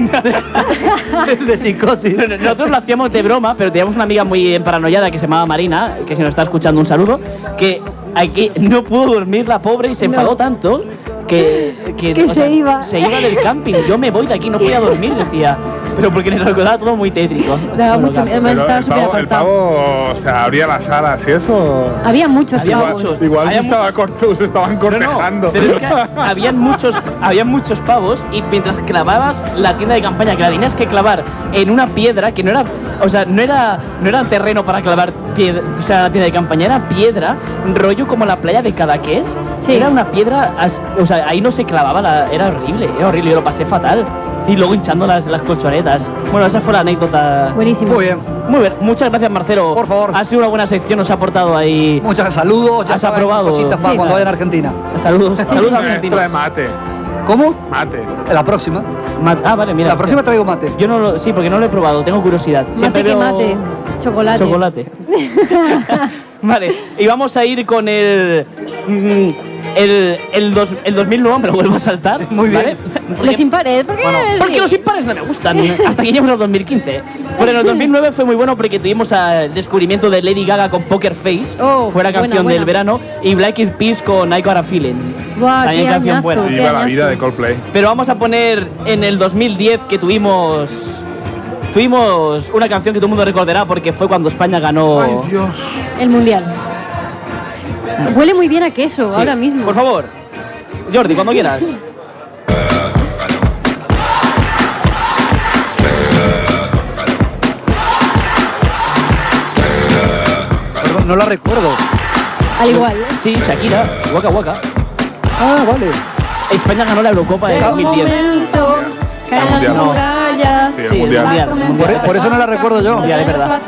[SPEAKER 5] el de psicosis.
[SPEAKER 1] Nosotros lo hacíamos de broma, pero teníamos una amiga muy paranoiada que se llamaba Marina, que si nos está escuchando un saludo, que aquí no pudo dormir la pobre y se enfadó tanto que,
[SPEAKER 2] Que se iba.
[SPEAKER 1] se iba del camping. Yo me voy de aquí, no podía dormir, decía. Pero porque nos recordaba todo muy tétrico.
[SPEAKER 2] Daba mucho miedo, además
[SPEAKER 3] Pero
[SPEAKER 2] estaba
[SPEAKER 3] el
[SPEAKER 2] súper
[SPEAKER 3] pavo, el
[SPEAKER 2] apartado.
[SPEAKER 3] pavo, o sea, abría las alas y eso.
[SPEAKER 2] Había muchos
[SPEAKER 3] Había
[SPEAKER 2] pavos.
[SPEAKER 3] muchos. Igual
[SPEAKER 1] Había
[SPEAKER 3] estaba corto, se estaban cortejando. [laughs]
[SPEAKER 1] Pero es que habían muchos, habían muchos pavos y mientras clavabas la tienda de campaña, que la tenías que clavar en una piedra que no era, o sea, no era, no era terreno para clavar piedra, o sea, la tienda de campaña era piedra, rollo como la playa de Cadaqués.
[SPEAKER 2] Sí.
[SPEAKER 1] Era una piedra, as- o sea, ahí no se clavaba, la- era horrible, era horrible, yo lo pasé fatal. Y luego hinchando las, las colchonetas. Bueno, esa fue la anécdota.
[SPEAKER 2] Buenísimo.
[SPEAKER 5] Muy bien.
[SPEAKER 1] Muy bien, muchas gracias Marcelo.
[SPEAKER 5] Por favor.
[SPEAKER 1] Ha sido una buena sección, nos ha aportado ahí.
[SPEAKER 5] Muchas saludos, ya
[SPEAKER 1] Has
[SPEAKER 5] saben,
[SPEAKER 1] aprobado.
[SPEAKER 5] Cositas para
[SPEAKER 1] Sí,
[SPEAKER 5] cuando
[SPEAKER 1] claro.
[SPEAKER 5] vayan a Argentina.
[SPEAKER 1] Saludos, saludos a
[SPEAKER 3] Trae-
[SPEAKER 1] Argentina.
[SPEAKER 3] Trae mate.
[SPEAKER 5] ¿Cómo?
[SPEAKER 3] Mate.
[SPEAKER 5] La próxima.
[SPEAKER 1] Ma- Ah, vale, mira.
[SPEAKER 5] La próxima traigo mate.
[SPEAKER 1] Yo no lo, sí, porque no lo he probado, tengo curiosidad.
[SPEAKER 2] Mate que
[SPEAKER 1] veo
[SPEAKER 2] mate. Chocolate. [laughs]
[SPEAKER 1] Chocolate. vale, y vamos a ir con el. mm, el, el, dos- el 2009 me lo vuelvo a saltar.
[SPEAKER 5] Muy bien.
[SPEAKER 1] ¿vale?
[SPEAKER 2] Los impares, ¿por qué?
[SPEAKER 1] Bueno,
[SPEAKER 2] Sí.
[SPEAKER 1] porque los impares no me gustan.
[SPEAKER 2] [laughs]
[SPEAKER 1] Hasta que llegamos al 2015. Pero en el 2009 fue muy bueno porque tuvimos ah, el descubrimiento de Lady Gaga con Poker Face.
[SPEAKER 2] Oh,
[SPEAKER 1] fuera
[SPEAKER 2] buena,
[SPEAKER 1] canción
[SPEAKER 2] buena.
[SPEAKER 1] del verano. Y Black Eyed Peas con I Got a Feeling.
[SPEAKER 2] Buah,
[SPEAKER 1] También
[SPEAKER 2] qué
[SPEAKER 1] canción
[SPEAKER 2] añazo,
[SPEAKER 1] buena.
[SPEAKER 2] qué
[SPEAKER 3] Viva la vida
[SPEAKER 2] añazo.
[SPEAKER 3] de Coldplay.
[SPEAKER 1] Pero vamos a poner en el 2010 que tuvimos. Tuvimos una canción que todo el mundo recordará porque fue cuando España ganó.
[SPEAKER 3] Ay, Dios.
[SPEAKER 2] El mundial. Huele muy bien a queso
[SPEAKER 1] Sí.
[SPEAKER 2] ahora mismo.
[SPEAKER 1] Por favor, Jordi, cuando quieras.
[SPEAKER 5] Perdón, no la recuerdo.
[SPEAKER 2] Al [laughs] igual. ¿eh?
[SPEAKER 1] Sí, Shakira, Waka Waka.
[SPEAKER 5] Ah, vale.
[SPEAKER 1] España ganó la Eurocopa en
[SPEAKER 2] Llega un
[SPEAKER 1] 2010.
[SPEAKER 2] momento que
[SPEAKER 3] El mundial.
[SPEAKER 2] las murallas
[SPEAKER 3] Sí, el mundial. e-
[SPEAKER 2] van a
[SPEAKER 1] Mundial. e-,
[SPEAKER 2] comenzar
[SPEAKER 5] Por, por eso no la recuerdo yo.
[SPEAKER 1] Ya, es verdad.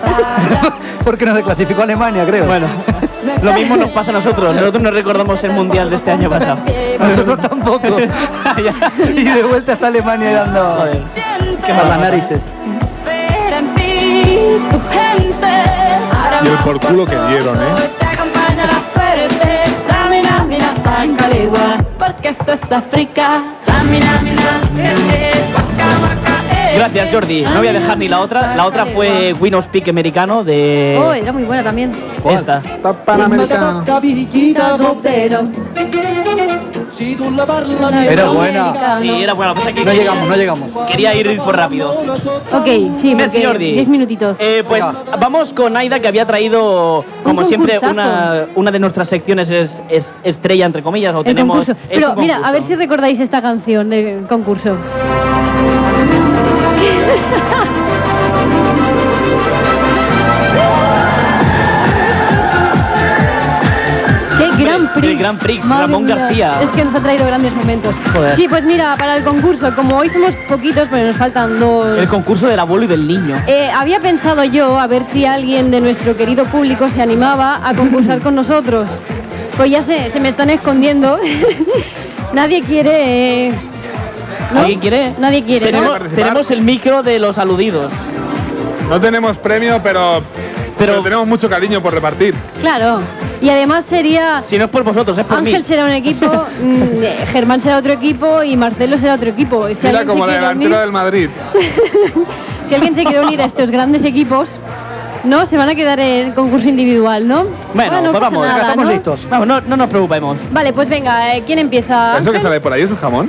[SPEAKER 5] [laughs] Porque nos desclasificó Alemania, creo.
[SPEAKER 1] Bueno, [laughs] lo mismo nos pasa a nosotros. Nosotros no recordamos el mundial de este año pasado. [laughs]
[SPEAKER 5] Nosotros [laughs] tampoco.
[SPEAKER 1] Ya.
[SPEAKER 5] y de vuelta está Alemania dando
[SPEAKER 1] Joder.
[SPEAKER 5] qué las narices.
[SPEAKER 3] Y el por culo que dieron, ¿eh?
[SPEAKER 2] eh.
[SPEAKER 1] Gracias, Jordi. No voy a dejar ni la otra. La otra fue Winos Peak americano
[SPEAKER 2] Oh,
[SPEAKER 1] de.
[SPEAKER 2] era muy buena también.
[SPEAKER 1] Esta.
[SPEAKER 3] Panamericano.
[SPEAKER 5] Era
[SPEAKER 2] Ah,
[SPEAKER 5] buena.
[SPEAKER 1] Sí, era buena. Lo que pasa es que
[SPEAKER 5] No llegamos, no llegamos.
[SPEAKER 1] Quería ir por rápido.
[SPEAKER 2] Ok, sí,
[SPEAKER 1] Merci,
[SPEAKER 2] porque
[SPEAKER 1] Jordi.
[SPEAKER 2] 10 minutitos.
[SPEAKER 1] Eh, pues
[SPEAKER 5] Venga.
[SPEAKER 1] vamos con Aida que había traído, como
[SPEAKER 2] Un
[SPEAKER 1] siempre,
[SPEAKER 2] concursazo.
[SPEAKER 1] una, una de nuestras secciones es, es- estrella, entre comillas, o
[SPEAKER 2] el
[SPEAKER 1] tenemos...
[SPEAKER 2] concurso.
[SPEAKER 1] es
[SPEAKER 2] Pero
[SPEAKER 1] un
[SPEAKER 2] mira, a
[SPEAKER 1] concurso.
[SPEAKER 2] ver si recordáis esta canción del
[SPEAKER 1] [laughs]
[SPEAKER 2] concurso. ¡Qué Gran
[SPEAKER 1] Hombre,
[SPEAKER 2] Prix!
[SPEAKER 1] el Gran Prix,
[SPEAKER 2] Madre
[SPEAKER 1] Ramón
[SPEAKER 2] mía,
[SPEAKER 1] García.
[SPEAKER 2] Es que nos ha traído grandes momentos.
[SPEAKER 1] Joder.
[SPEAKER 2] Sí, pues mira, para el concurso, como hoy somos poquitos, pero nos faltan dos.
[SPEAKER 1] El concurso del abuelo y del niño.
[SPEAKER 2] Eh, había pensado yo a ver si alguien de nuestro querido público se animaba a concursar con nosotros. Pues ya sé, se me están escondiendo. [laughs] Nadie quiere. eh, ¿no?
[SPEAKER 1] ¿Alguien quiere?
[SPEAKER 2] Nadie quiere. ¿no?
[SPEAKER 1] Tenemos,
[SPEAKER 3] participar?
[SPEAKER 1] tenemos el micro de los aludidos.
[SPEAKER 3] No tenemos premio, pero, pero. tenemos mucho cariño por repartir.
[SPEAKER 2] Claro. Y además sería.
[SPEAKER 1] Si no es por vosotros, es por
[SPEAKER 2] Ángel
[SPEAKER 1] mí.
[SPEAKER 2] será un equipo, mm, eh, Germán será otro equipo y Marcelo será otro equipo. Y Si
[SPEAKER 3] Mira
[SPEAKER 2] alguien, se
[SPEAKER 3] como la
[SPEAKER 2] quiere
[SPEAKER 3] delantera
[SPEAKER 2] unir,
[SPEAKER 3] del Madrid.
[SPEAKER 2] si alguien se quiere unir a estos grandes equipos, ¿no? Se van a quedar en concurso individual, ¿no?
[SPEAKER 1] Bueno,
[SPEAKER 2] no
[SPEAKER 1] pues
[SPEAKER 2] pasa
[SPEAKER 1] vamos,
[SPEAKER 2] nada,
[SPEAKER 5] estamos
[SPEAKER 2] ¿no?
[SPEAKER 5] listos.
[SPEAKER 1] Vamos, no, no nos preocupemos.
[SPEAKER 2] Vale, pues venga, eh, ¿quién empieza?
[SPEAKER 3] ¿Eso que
[SPEAKER 2] Ángel?
[SPEAKER 3] sale por ahí es el jamón?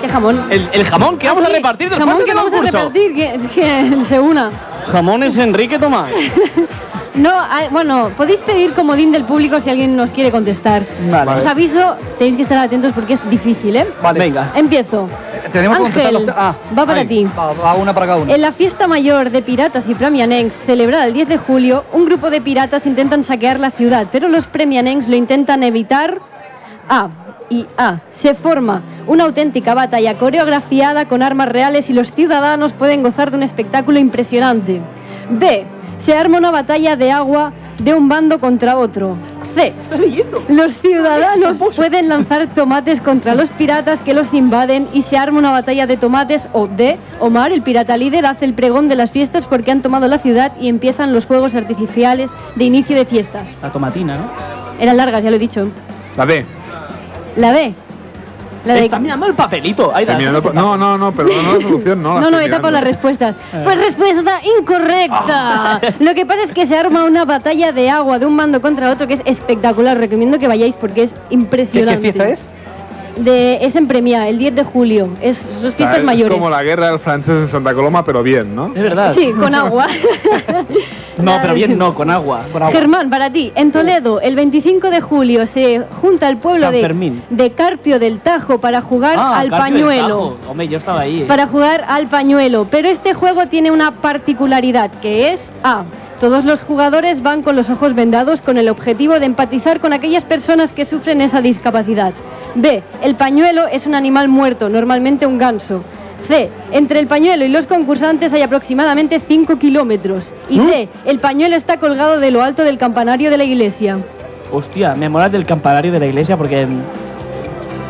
[SPEAKER 2] ¿Qué jamón? Ah,
[SPEAKER 1] El, el jamón que vamos
[SPEAKER 2] Sí,
[SPEAKER 1] a repartir después
[SPEAKER 2] jamón
[SPEAKER 1] del
[SPEAKER 2] que vamos a
[SPEAKER 1] concurso.
[SPEAKER 2] repartir, que, que [laughs] se una.
[SPEAKER 1] Jamón es Enrique
[SPEAKER 2] [laughs]
[SPEAKER 1] Tomás.
[SPEAKER 2] No, ah, bueno, podéis pedir comodín del público si alguien nos quiere contestar.
[SPEAKER 1] Vale.
[SPEAKER 2] Os aviso, tenéis que estar atentos porque es difícil, ¿eh?
[SPEAKER 5] Vale.
[SPEAKER 1] Venga.
[SPEAKER 2] Empiezo.
[SPEAKER 5] Tenemos que contestar
[SPEAKER 2] Ángel,
[SPEAKER 5] los tres- ah,
[SPEAKER 2] va para
[SPEAKER 5] ahí.
[SPEAKER 2] ti.
[SPEAKER 5] Va, va una para cada uno.
[SPEAKER 2] En la fiesta mayor de piratas y premianengs, celebrada el 10 de julio, un grupo de piratas intentan saquear la ciudad, pero los premianengs lo intentan evitar. A. Y A. Se forma una auténtica batalla coreografiada con armas reales y los ciudadanos pueden gozar de un espectáculo impresionante. B. Se arma una batalla de agua de un bando contra otro. C. Los
[SPEAKER 5] [laughs]
[SPEAKER 2] ciudadanos pueden lanzar tomates contra los piratas que los invaden y se arma una batalla de tomates o de Omar, el pirata líder, hace el pregón de las fiestas porque han tomado la ciudad y empiezan los fuegos artificiales de inicio de fiestas.
[SPEAKER 1] La tomatina, ¿no?
[SPEAKER 2] Eran largas, ya lo he dicho.
[SPEAKER 3] La D.
[SPEAKER 2] La B. La de...
[SPEAKER 1] Está mirando el papelito. Aida.
[SPEAKER 3] Estoy mirando por- No, no, no, pero no la solución, no. la
[SPEAKER 2] No, no,
[SPEAKER 3] estoy
[SPEAKER 2] he tapado las
[SPEAKER 3] mirando.
[SPEAKER 5] [laughs]
[SPEAKER 2] respuestas.
[SPEAKER 5] Eh.
[SPEAKER 2] Pues respuesta incorrecta. Lo que pasa es que se arma una batalla de agua de un bando contra otro que es espectacular. Recomiendo que vayáis porque es
[SPEAKER 5] ¿Qué, qué
[SPEAKER 2] impresionante.
[SPEAKER 5] fiesta es?
[SPEAKER 2] de, es en Premia, el 10 de julio. Es sus
[SPEAKER 3] O sea,
[SPEAKER 2] fiestas
[SPEAKER 3] es
[SPEAKER 2] mayores.
[SPEAKER 3] como la guerra del francés en Santa Coloma, pero bien, ¿no?
[SPEAKER 1] Es verdad.
[SPEAKER 2] Sí,
[SPEAKER 1] [laughs]
[SPEAKER 2] con agua.
[SPEAKER 1] No, pero bien no, con agua.
[SPEAKER 2] Germán, para ti, en Toledo, el 25 de julio se junta el pueblo
[SPEAKER 1] San
[SPEAKER 2] de,
[SPEAKER 1] Fermín.
[SPEAKER 2] de Carpio del Tajo para jugar
[SPEAKER 1] Ah,
[SPEAKER 2] al
[SPEAKER 1] Carpio del
[SPEAKER 2] pañuelo.
[SPEAKER 1] Tajo. Hombre, yo estaba ahí. eh.
[SPEAKER 2] Para jugar al pañuelo. Pero este juego tiene una particularidad, que es A. Todos los jugadores van con los ojos vendados con el objetivo de empatizar con aquellas personas que sufren esa discapacidad. B. El pañuelo es un animal muerto, normalmente un ganso. C. Entre el pañuelo y los concursantes hay aproximadamente 5 kilómetros. Y D. El pañuelo está colgado de lo alto del campanario de la iglesia.
[SPEAKER 1] Hostia, me mola el del campanario de la iglesia porque mm,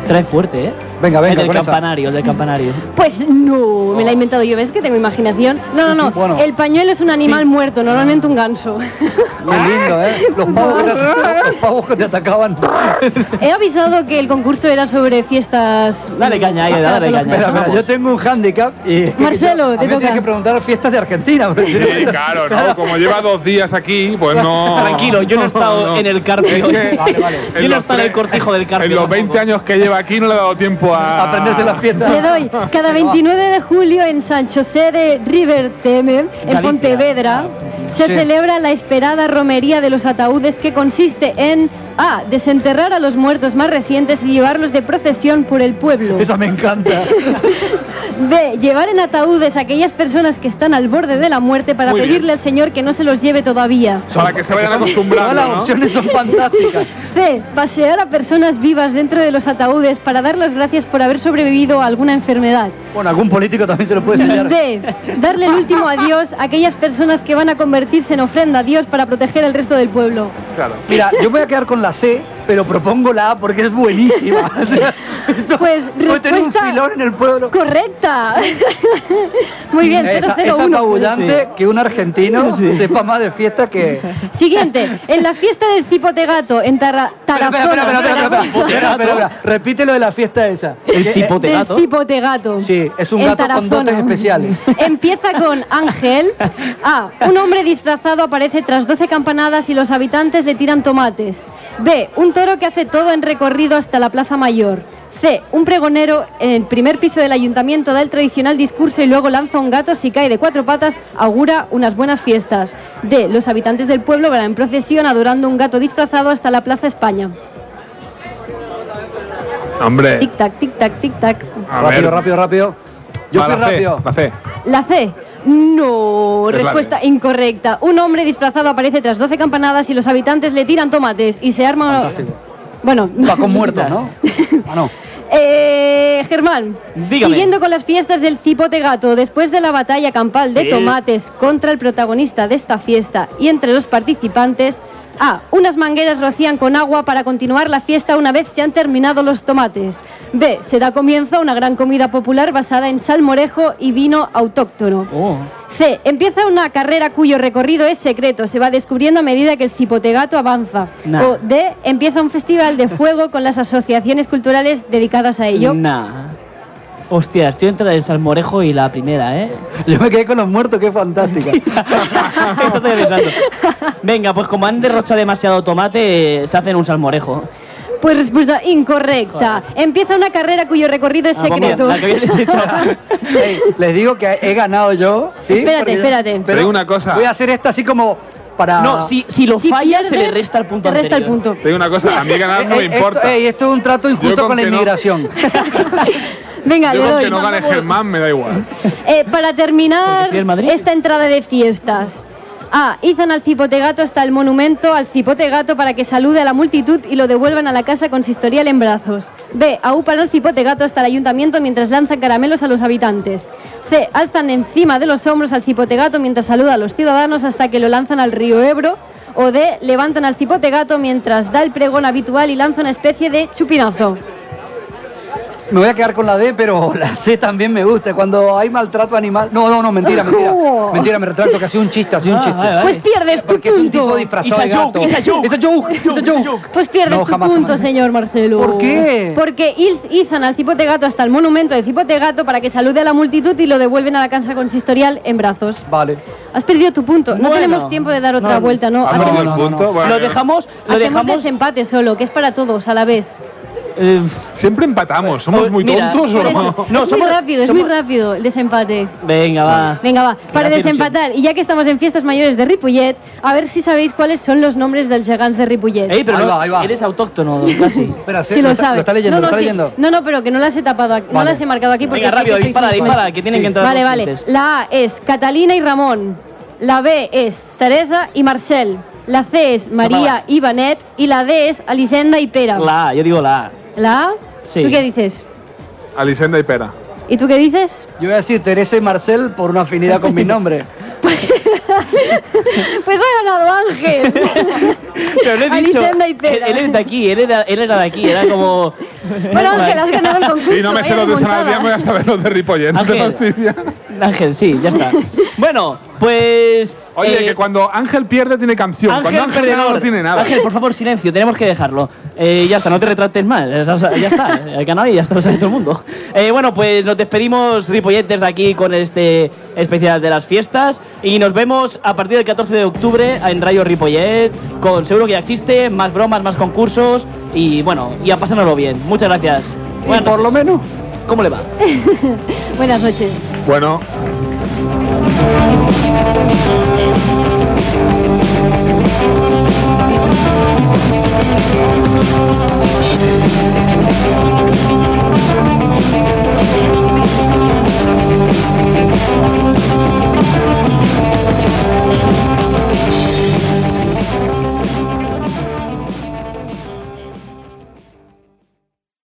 [SPEAKER 1] trae fuerte, ¿eh?
[SPEAKER 5] Venga, venga,
[SPEAKER 1] El del
[SPEAKER 5] con esa.
[SPEAKER 1] campanario, el del campanario.
[SPEAKER 2] Pues no, me la he inventado yo, ¿ves que tengo imaginación? No, no, no,
[SPEAKER 5] Bueno.
[SPEAKER 2] el pañuelo es un animal muerto, normalmente un ganso.
[SPEAKER 5] Muy lindo, ¿eh? Los
[SPEAKER 2] [laughs]
[SPEAKER 5] pavos, que te, los pavos que te atacaban.
[SPEAKER 2] He avisado que el concurso era sobre fiestas.
[SPEAKER 1] Dale caña, ahí, dale
[SPEAKER 2] Catalanas.
[SPEAKER 1] caña.
[SPEAKER 5] Mira, mira, yo tengo un handicap y.
[SPEAKER 2] Marcelo,
[SPEAKER 5] a mí
[SPEAKER 2] te
[SPEAKER 5] me tienes
[SPEAKER 2] toca.
[SPEAKER 5] que preguntar fiestas de Argentina.
[SPEAKER 3] [laughs] Sí,
[SPEAKER 5] [laughs]
[SPEAKER 3] claro, ¿no? Como lleva dos días aquí, pues [laughs] no.
[SPEAKER 1] [laughs] Tranquilo, yo no he estado en el Carpio.
[SPEAKER 3] Es que-
[SPEAKER 1] [laughs]
[SPEAKER 5] Vale, vale.
[SPEAKER 1] Yo no he estado en el
[SPEAKER 3] tre-
[SPEAKER 1] cortijo del Carpio.
[SPEAKER 3] En los 20
[SPEAKER 1] tampoco.
[SPEAKER 3] años que lleva aquí no le ha dado tiempo a.
[SPEAKER 5] Aprenderse las fiestas.
[SPEAKER 2] Le doy cada 29 de julio en San José de River Teme, en
[SPEAKER 1] Galicia. Ah,
[SPEAKER 2] Pontevedra. Se
[SPEAKER 5] Sí.
[SPEAKER 2] celebra la esperada romería de los ataúdes que consiste en A. Desenterrar a los muertos más recientes y llevarlos de procesión por el pueblo.
[SPEAKER 5] Esa me encanta.
[SPEAKER 2] B. Llevar en ataúdes a aquellas personas que están al borde de la muerte para
[SPEAKER 3] Muy bien.
[SPEAKER 2] pedirle al Señor que no se los lleve todavía.
[SPEAKER 3] Para que se vayan
[SPEAKER 5] Todas
[SPEAKER 3] acostumbrando.
[SPEAKER 5] las
[SPEAKER 3] ¿no?
[SPEAKER 5] opciones son fantásticas.
[SPEAKER 2] C. Pasear a personas vivas dentro de los ataúdes para dar las gracias por haber sobrevivido a alguna enfermedad.
[SPEAKER 5] Bueno, algún político también se lo
[SPEAKER 2] [laughs]
[SPEAKER 5] puede enseñar.
[SPEAKER 2] D. Darle el último adiós a aquellas personas que van a convertirse en ofrenda a Dios para proteger al resto del pueblo.
[SPEAKER 3] Claro.
[SPEAKER 5] Mira, yo me voy a quedar con la C, pero propongo la A porque es buenísima. [laughs] O sea, esto
[SPEAKER 2] Pues,
[SPEAKER 5] puede tener un
[SPEAKER 2] respuesta-
[SPEAKER 5] filón en el pueblo.
[SPEAKER 2] ¡Correcta! [laughs] Muy bien,
[SPEAKER 5] Esa- es
[SPEAKER 2] 001.
[SPEAKER 5] apabullante que un argentino sepa más de fiesta que.
[SPEAKER 2] Siguiente, en la fiesta del cipote gato en Tarra-
[SPEAKER 5] Espera,
[SPEAKER 2] Tarazona.
[SPEAKER 5] espera, espera, espera, espera, espera,
[SPEAKER 2] Zaragoza.
[SPEAKER 5] espera, espera, espera. Repite lo de la fiesta esa. Eh,
[SPEAKER 1] El tipo de
[SPEAKER 2] Del
[SPEAKER 1] gato.
[SPEAKER 2] cipote gato.
[SPEAKER 5] Sí, es un
[SPEAKER 2] En
[SPEAKER 5] gato con
[SPEAKER 2] Tarazona.
[SPEAKER 5] dotes especiales.
[SPEAKER 2] [laughs] Empieza con Ángel. A. Un hombre disfrazado aparece tras 12 campanadas y los habitantes le tiran tomates. B. Un toro que hace todo en recorrido hasta la Plaza Mayor. C. Un pregonero en el primer piso del ayuntamiento da el tradicional discurso y luego lanza un gato si cae de cuatro patas, augura unas buenas fiestas. D. Los habitantes del pueblo van en procesión adorando un gato disfrazado hasta la Plaza España.
[SPEAKER 3] Hombre.
[SPEAKER 2] Tic tac, tic tac, tic tac.
[SPEAKER 3] A
[SPEAKER 5] rápido,
[SPEAKER 3] ver.
[SPEAKER 5] rápido, rápido. Yo
[SPEAKER 3] Va,
[SPEAKER 5] fui
[SPEAKER 3] la C,
[SPEAKER 5] rápido.
[SPEAKER 3] La C.
[SPEAKER 2] La C. No,
[SPEAKER 5] Pues
[SPEAKER 3] Es la
[SPEAKER 2] respuesta
[SPEAKER 3] B.
[SPEAKER 2] incorrecta. Un hombre disfrazado aparece tras 12 campanadas y los habitantes le tiran tomates y se arma...
[SPEAKER 5] Fantástico.
[SPEAKER 2] Bueno,
[SPEAKER 5] Va con muertos, ¿no? Ah, no.
[SPEAKER 2] [laughs] Eh, Germán,
[SPEAKER 1] Dígame.
[SPEAKER 2] siguiendo con las fiestas del cipote gato, después de la batalla campal de
[SPEAKER 1] Sí.
[SPEAKER 2] tomates contra el protagonista de esta fiesta y entre los participantes, A. Unas mangueras rocían con agua para continuar la fiesta una vez se han terminado los tomates. B. Se da comienzo a una gran comida popular basada en salmorejo y vino autóctono.
[SPEAKER 1] Oh.
[SPEAKER 2] C. Empieza una carrera cuyo recorrido es secreto, se va descubriendo a medida que el cipotegato avanza.
[SPEAKER 1] Nah.
[SPEAKER 2] O D. Empieza un festival de fuego con las asociaciones culturales dedicadas a ello.
[SPEAKER 1] Nah. Hostia, estoy entre el salmorejo y la primera, ¿eh?
[SPEAKER 5] Yo me quedé con los muertos, que es fantástica.
[SPEAKER 1] Esto estoy pensando. Venga, pues como han derrochado demasiado tomate, eh, se hacen un salmorejo.
[SPEAKER 2] Pues respuesta incorrecta. Empieza una carrera cuyo recorrido es
[SPEAKER 1] Ah, pues mira,
[SPEAKER 2] secreto.
[SPEAKER 1] la que había
[SPEAKER 2] [laughs]
[SPEAKER 1] desechado.
[SPEAKER 5] Ey, les digo que he ganado yo, ¿sí?
[SPEAKER 2] Espérate,
[SPEAKER 5] Porque yo-
[SPEAKER 2] espérate.
[SPEAKER 5] pero
[SPEAKER 3] Pero digo una cosa.
[SPEAKER 5] Voy a hacer esta así como para...
[SPEAKER 1] No, si, si lo
[SPEAKER 2] Si
[SPEAKER 1] falla, se le
[SPEAKER 2] pierdes,
[SPEAKER 1] resta el punto
[SPEAKER 2] Te resta el
[SPEAKER 1] anterior.
[SPEAKER 2] punto.
[SPEAKER 3] Te digo una cosa,
[SPEAKER 5] [laughs]
[SPEAKER 3] a mí ganar Ah, no me
[SPEAKER 5] Ey, ey,
[SPEAKER 3] importa.
[SPEAKER 5] Eh, Esto, ey, esto es un trato injusto
[SPEAKER 3] con
[SPEAKER 5] con, la
[SPEAKER 3] que no-
[SPEAKER 5] inmigración.
[SPEAKER 2] Venga,
[SPEAKER 3] Yo
[SPEAKER 2] le
[SPEAKER 3] con
[SPEAKER 2] doy.
[SPEAKER 3] que no gane Germán me da igual.
[SPEAKER 2] Eh, para
[SPEAKER 1] Porque
[SPEAKER 2] terminar
[SPEAKER 1] soy del Madrid.
[SPEAKER 2] esta entrada de fiestas. A. Izan al cipotegato hasta el monumento al cipotegato para que salude a la multitud y lo devuelvan a la casa consistorial en brazos. B. Aupan al cipotegato hasta el ayuntamiento mientras lanzan caramelos a los habitantes. C. Alzan encima de los hombros al cipotegato mientras saluda a los ciudadanos hasta que lo lanzan al río Ebro. O D. Levantan al cipotegato mientras da el pregón habitual y lanza una especie de chupinazo.
[SPEAKER 5] Me voy a quedar con la D, pero la C también me gusta. Cuando hay maltrato animal... No, no, no, mentira, mentira.
[SPEAKER 2] No.
[SPEAKER 5] Mentira, me retracto, que ha sido un chiste, ha sido un
[SPEAKER 1] Ah,
[SPEAKER 5] chiste.
[SPEAKER 1] vale, vale.
[SPEAKER 2] Pues pierdes tu
[SPEAKER 5] Porque es un tipo
[SPEAKER 2] punto.
[SPEAKER 5] disfrazado de
[SPEAKER 1] It's a joke,
[SPEAKER 5] gato.
[SPEAKER 1] it's a joke.
[SPEAKER 5] It's a joke, it's a joke.
[SPEAKER 2] Pues pierdes
[SPEAKER 5] No,
[SPEAKER 2] tu
[SPEAKER 5] jamás,
[SPEAKER 2] punto,
[SPEAKER 5] jamás.
[SPEAKER 2] señor Marcelo.
[SPEAKER 5] ¿Por qué?
[SPEAKER 2] Porque il- izan al cipotegato hasta el monumento de cipotegato para que salude a la multitud y lo devuelven a la casa consistorial en brazos.
[SPEAKER 5] Vale.
[SPEAKER 2] Has perdido tu punto. No
[SPEAKER 1] Bueno.
[SPEAKER 2] tenemos tiempo de dar otra
[SPEAKER 1] No,
[SPEAKER 2] vuelta, ¿no?
[SPEAKER 3] ¿Ha
[SPEAKER 2] Hacemos-
[SPEAKER 3] perdido el
[SPEAKER 5] ah, no, no,
[SPEAKER 3] punto?
[SPEAKER 5] no.
[SPEAKER 3] Bueno,
[SPEAKER 1] Lo dejamos, Eh, lo
[SPEAKER 2] hacemos
[SPEAKER 1] dejamos.
[SPEAKER 2] desempate solo, que es para todos a la vez.
[SPEAKER 3] Siempre empatamos, somos
[SPEAKER 5] Pues
[SPEAKER 3] muy
[SPEAKER 1] mira,
[SPEAKER 3] tontos o
[SPEAKER 1] por
[SPEAKER 3] no.
[SPEAKER 1] eso-
[SPEAKER 2] es muy rápido, es muy rápido el desempate.
[SPEAKER 1] Venga, va.
[SPEAKER 2] Venga, va. Para
[SPEAKER 1] hace ilusión.
[SPEAKER 2] desempatar, y ya que estamos en fiestas mayores de Ripollet, a ver si sabéis cuáles son los nombres dels gegants de Ripollet.
[SPEAKER 1] Ey, pero
[SPEAKER 5] Ahí
[SPEAKER 1] no,
[SPEAKER 5] va, ahí va.
[SPEAKER 1] eres autóctono,
[SPEAKER 2] [laughs]
[SPEAKER 1] casi.
[SPEAKER 5] Espera,
[SPEAKER 2] Si
[SPEAKER 5] sí,
[SPEAKER 2] lo,
[SPEAKER 5] está-
[SPEAKER 2] sabes.
[SPEAKER 5] Lo está
[SPEAKER 2] no,
[SPEAKER 5] leyendo, lo
[SPEAKER 2] no,
[SPEAKER 5] está
[SPEAKER 2] sí.
[SPEAKER 5] leyendo.
[SPEAKER 2] No, no, pero que no las he tapado aquí, no
[SPEAKER 5] Vale.
[SPEAKER 2] las he marcado aquí porque
[SPEAKER 1] Venga,
[SPEAKER 2] sí
[SPEAKER 1] rápido,
[SPEAKER 2] que sois
[SPEAKER 1] dispara,
[SPEAKER 2] muy fans.
[SPEAKER 1] dispara, que tienen que entrar
[SPEAKER 2] Vale,
[SPEAKER 1] los
[SPEAKER 2] vale.
[SPEAKER 1] siguientes.
[SPEAKER 2] La A es Catalina y Ramón. La B es Teresa y Marcel. La C es María y Benet. Y la D es Alisenda y Pera.
[SPEAKER 1] La A, yo digo la A.
[SPEAKER 2] ¿La A?
[SPEAKER 1] Sí.
[SPEAKER 2] ¿Tú qué dices?
[SPEAKER 3] Alisenda y Pera.
[SPEAKER 5] Pues
[SPEAKER 2] ¿Y tú qué dices?
[SPEAKER 5] Yo voy a decir Teresa y Marcel por una afinidad con mi nombre.
[SPEAKER 2] Pues ha ganado
[SPEAKER 1] [laughs]
[SPEAKER 2] Ángel.
[SPEAKER 1] Pero le he dicho.
[SPEAKER 2] Alisenda y Pera.
[SPEAKER 1] Él, él es de aquí, él era, él era de aquí, era como.
[SPEAKER 2] [laughs] Bueno,
[SPEAKER 1] [laughs]
[SPEAKER 2] Ángel, has ganado el concurso.
[SPEAKER 3] Sí, no me sé
[SPEAKER 2] eh,
[SPEAKER 3] los de San
[SPEAKER 2] remontada.
[SPEAKER 3] Adrián, voy a saber los de Ripollet. No te
[SPEAKER 1] Ángel.
[SPEAKER 3] fastidia.
[SPEAKER 5] Eh,
[SPEAKER 1] Ángel, sí, ya
[SPEAKER 2] [laughs]
[SPEAKER 1] está. bueno, pues.
[SPEAKER 3] Oye,
[SPEAKER 1] eh,
[SPEAKER 3] que cuando Ángel pierde tiene canción, cuando Ángel gana
[SPEAKER 1] perdedor.
[SPEAKER 3] no tiene nada.
[SPEAKER 1] Ángel, por favor, silencio, tenemos que dejarlo. Eh, ya está, no te retrates más. Ya está, ya está, eh, el canal y ya está, lo sabe todo el mundo. Eh, bueno, pues nos despedimos, Ripollet, desde aquí con este especial de las fiestas. Y nos vemos a partir del 14 de octubre en Radio Ripollet, con seguro que ya existe, más bromas, más concursos. Y bueno, y a pasárnoslo bien. Muchas gracias.
[SPEAKER 5] Y
[SPEAKER 1] Buenas
[SPEAKER 5] por lo
[SPEAKER 1] noches.
[SPEAKER 5] menos.
[SPEAKER 1] ¿Cómo le va?
[SPEAKER 2] Buenas noches.
[SPEAKER 3] Bueno,
[SPEAKER 9] Thank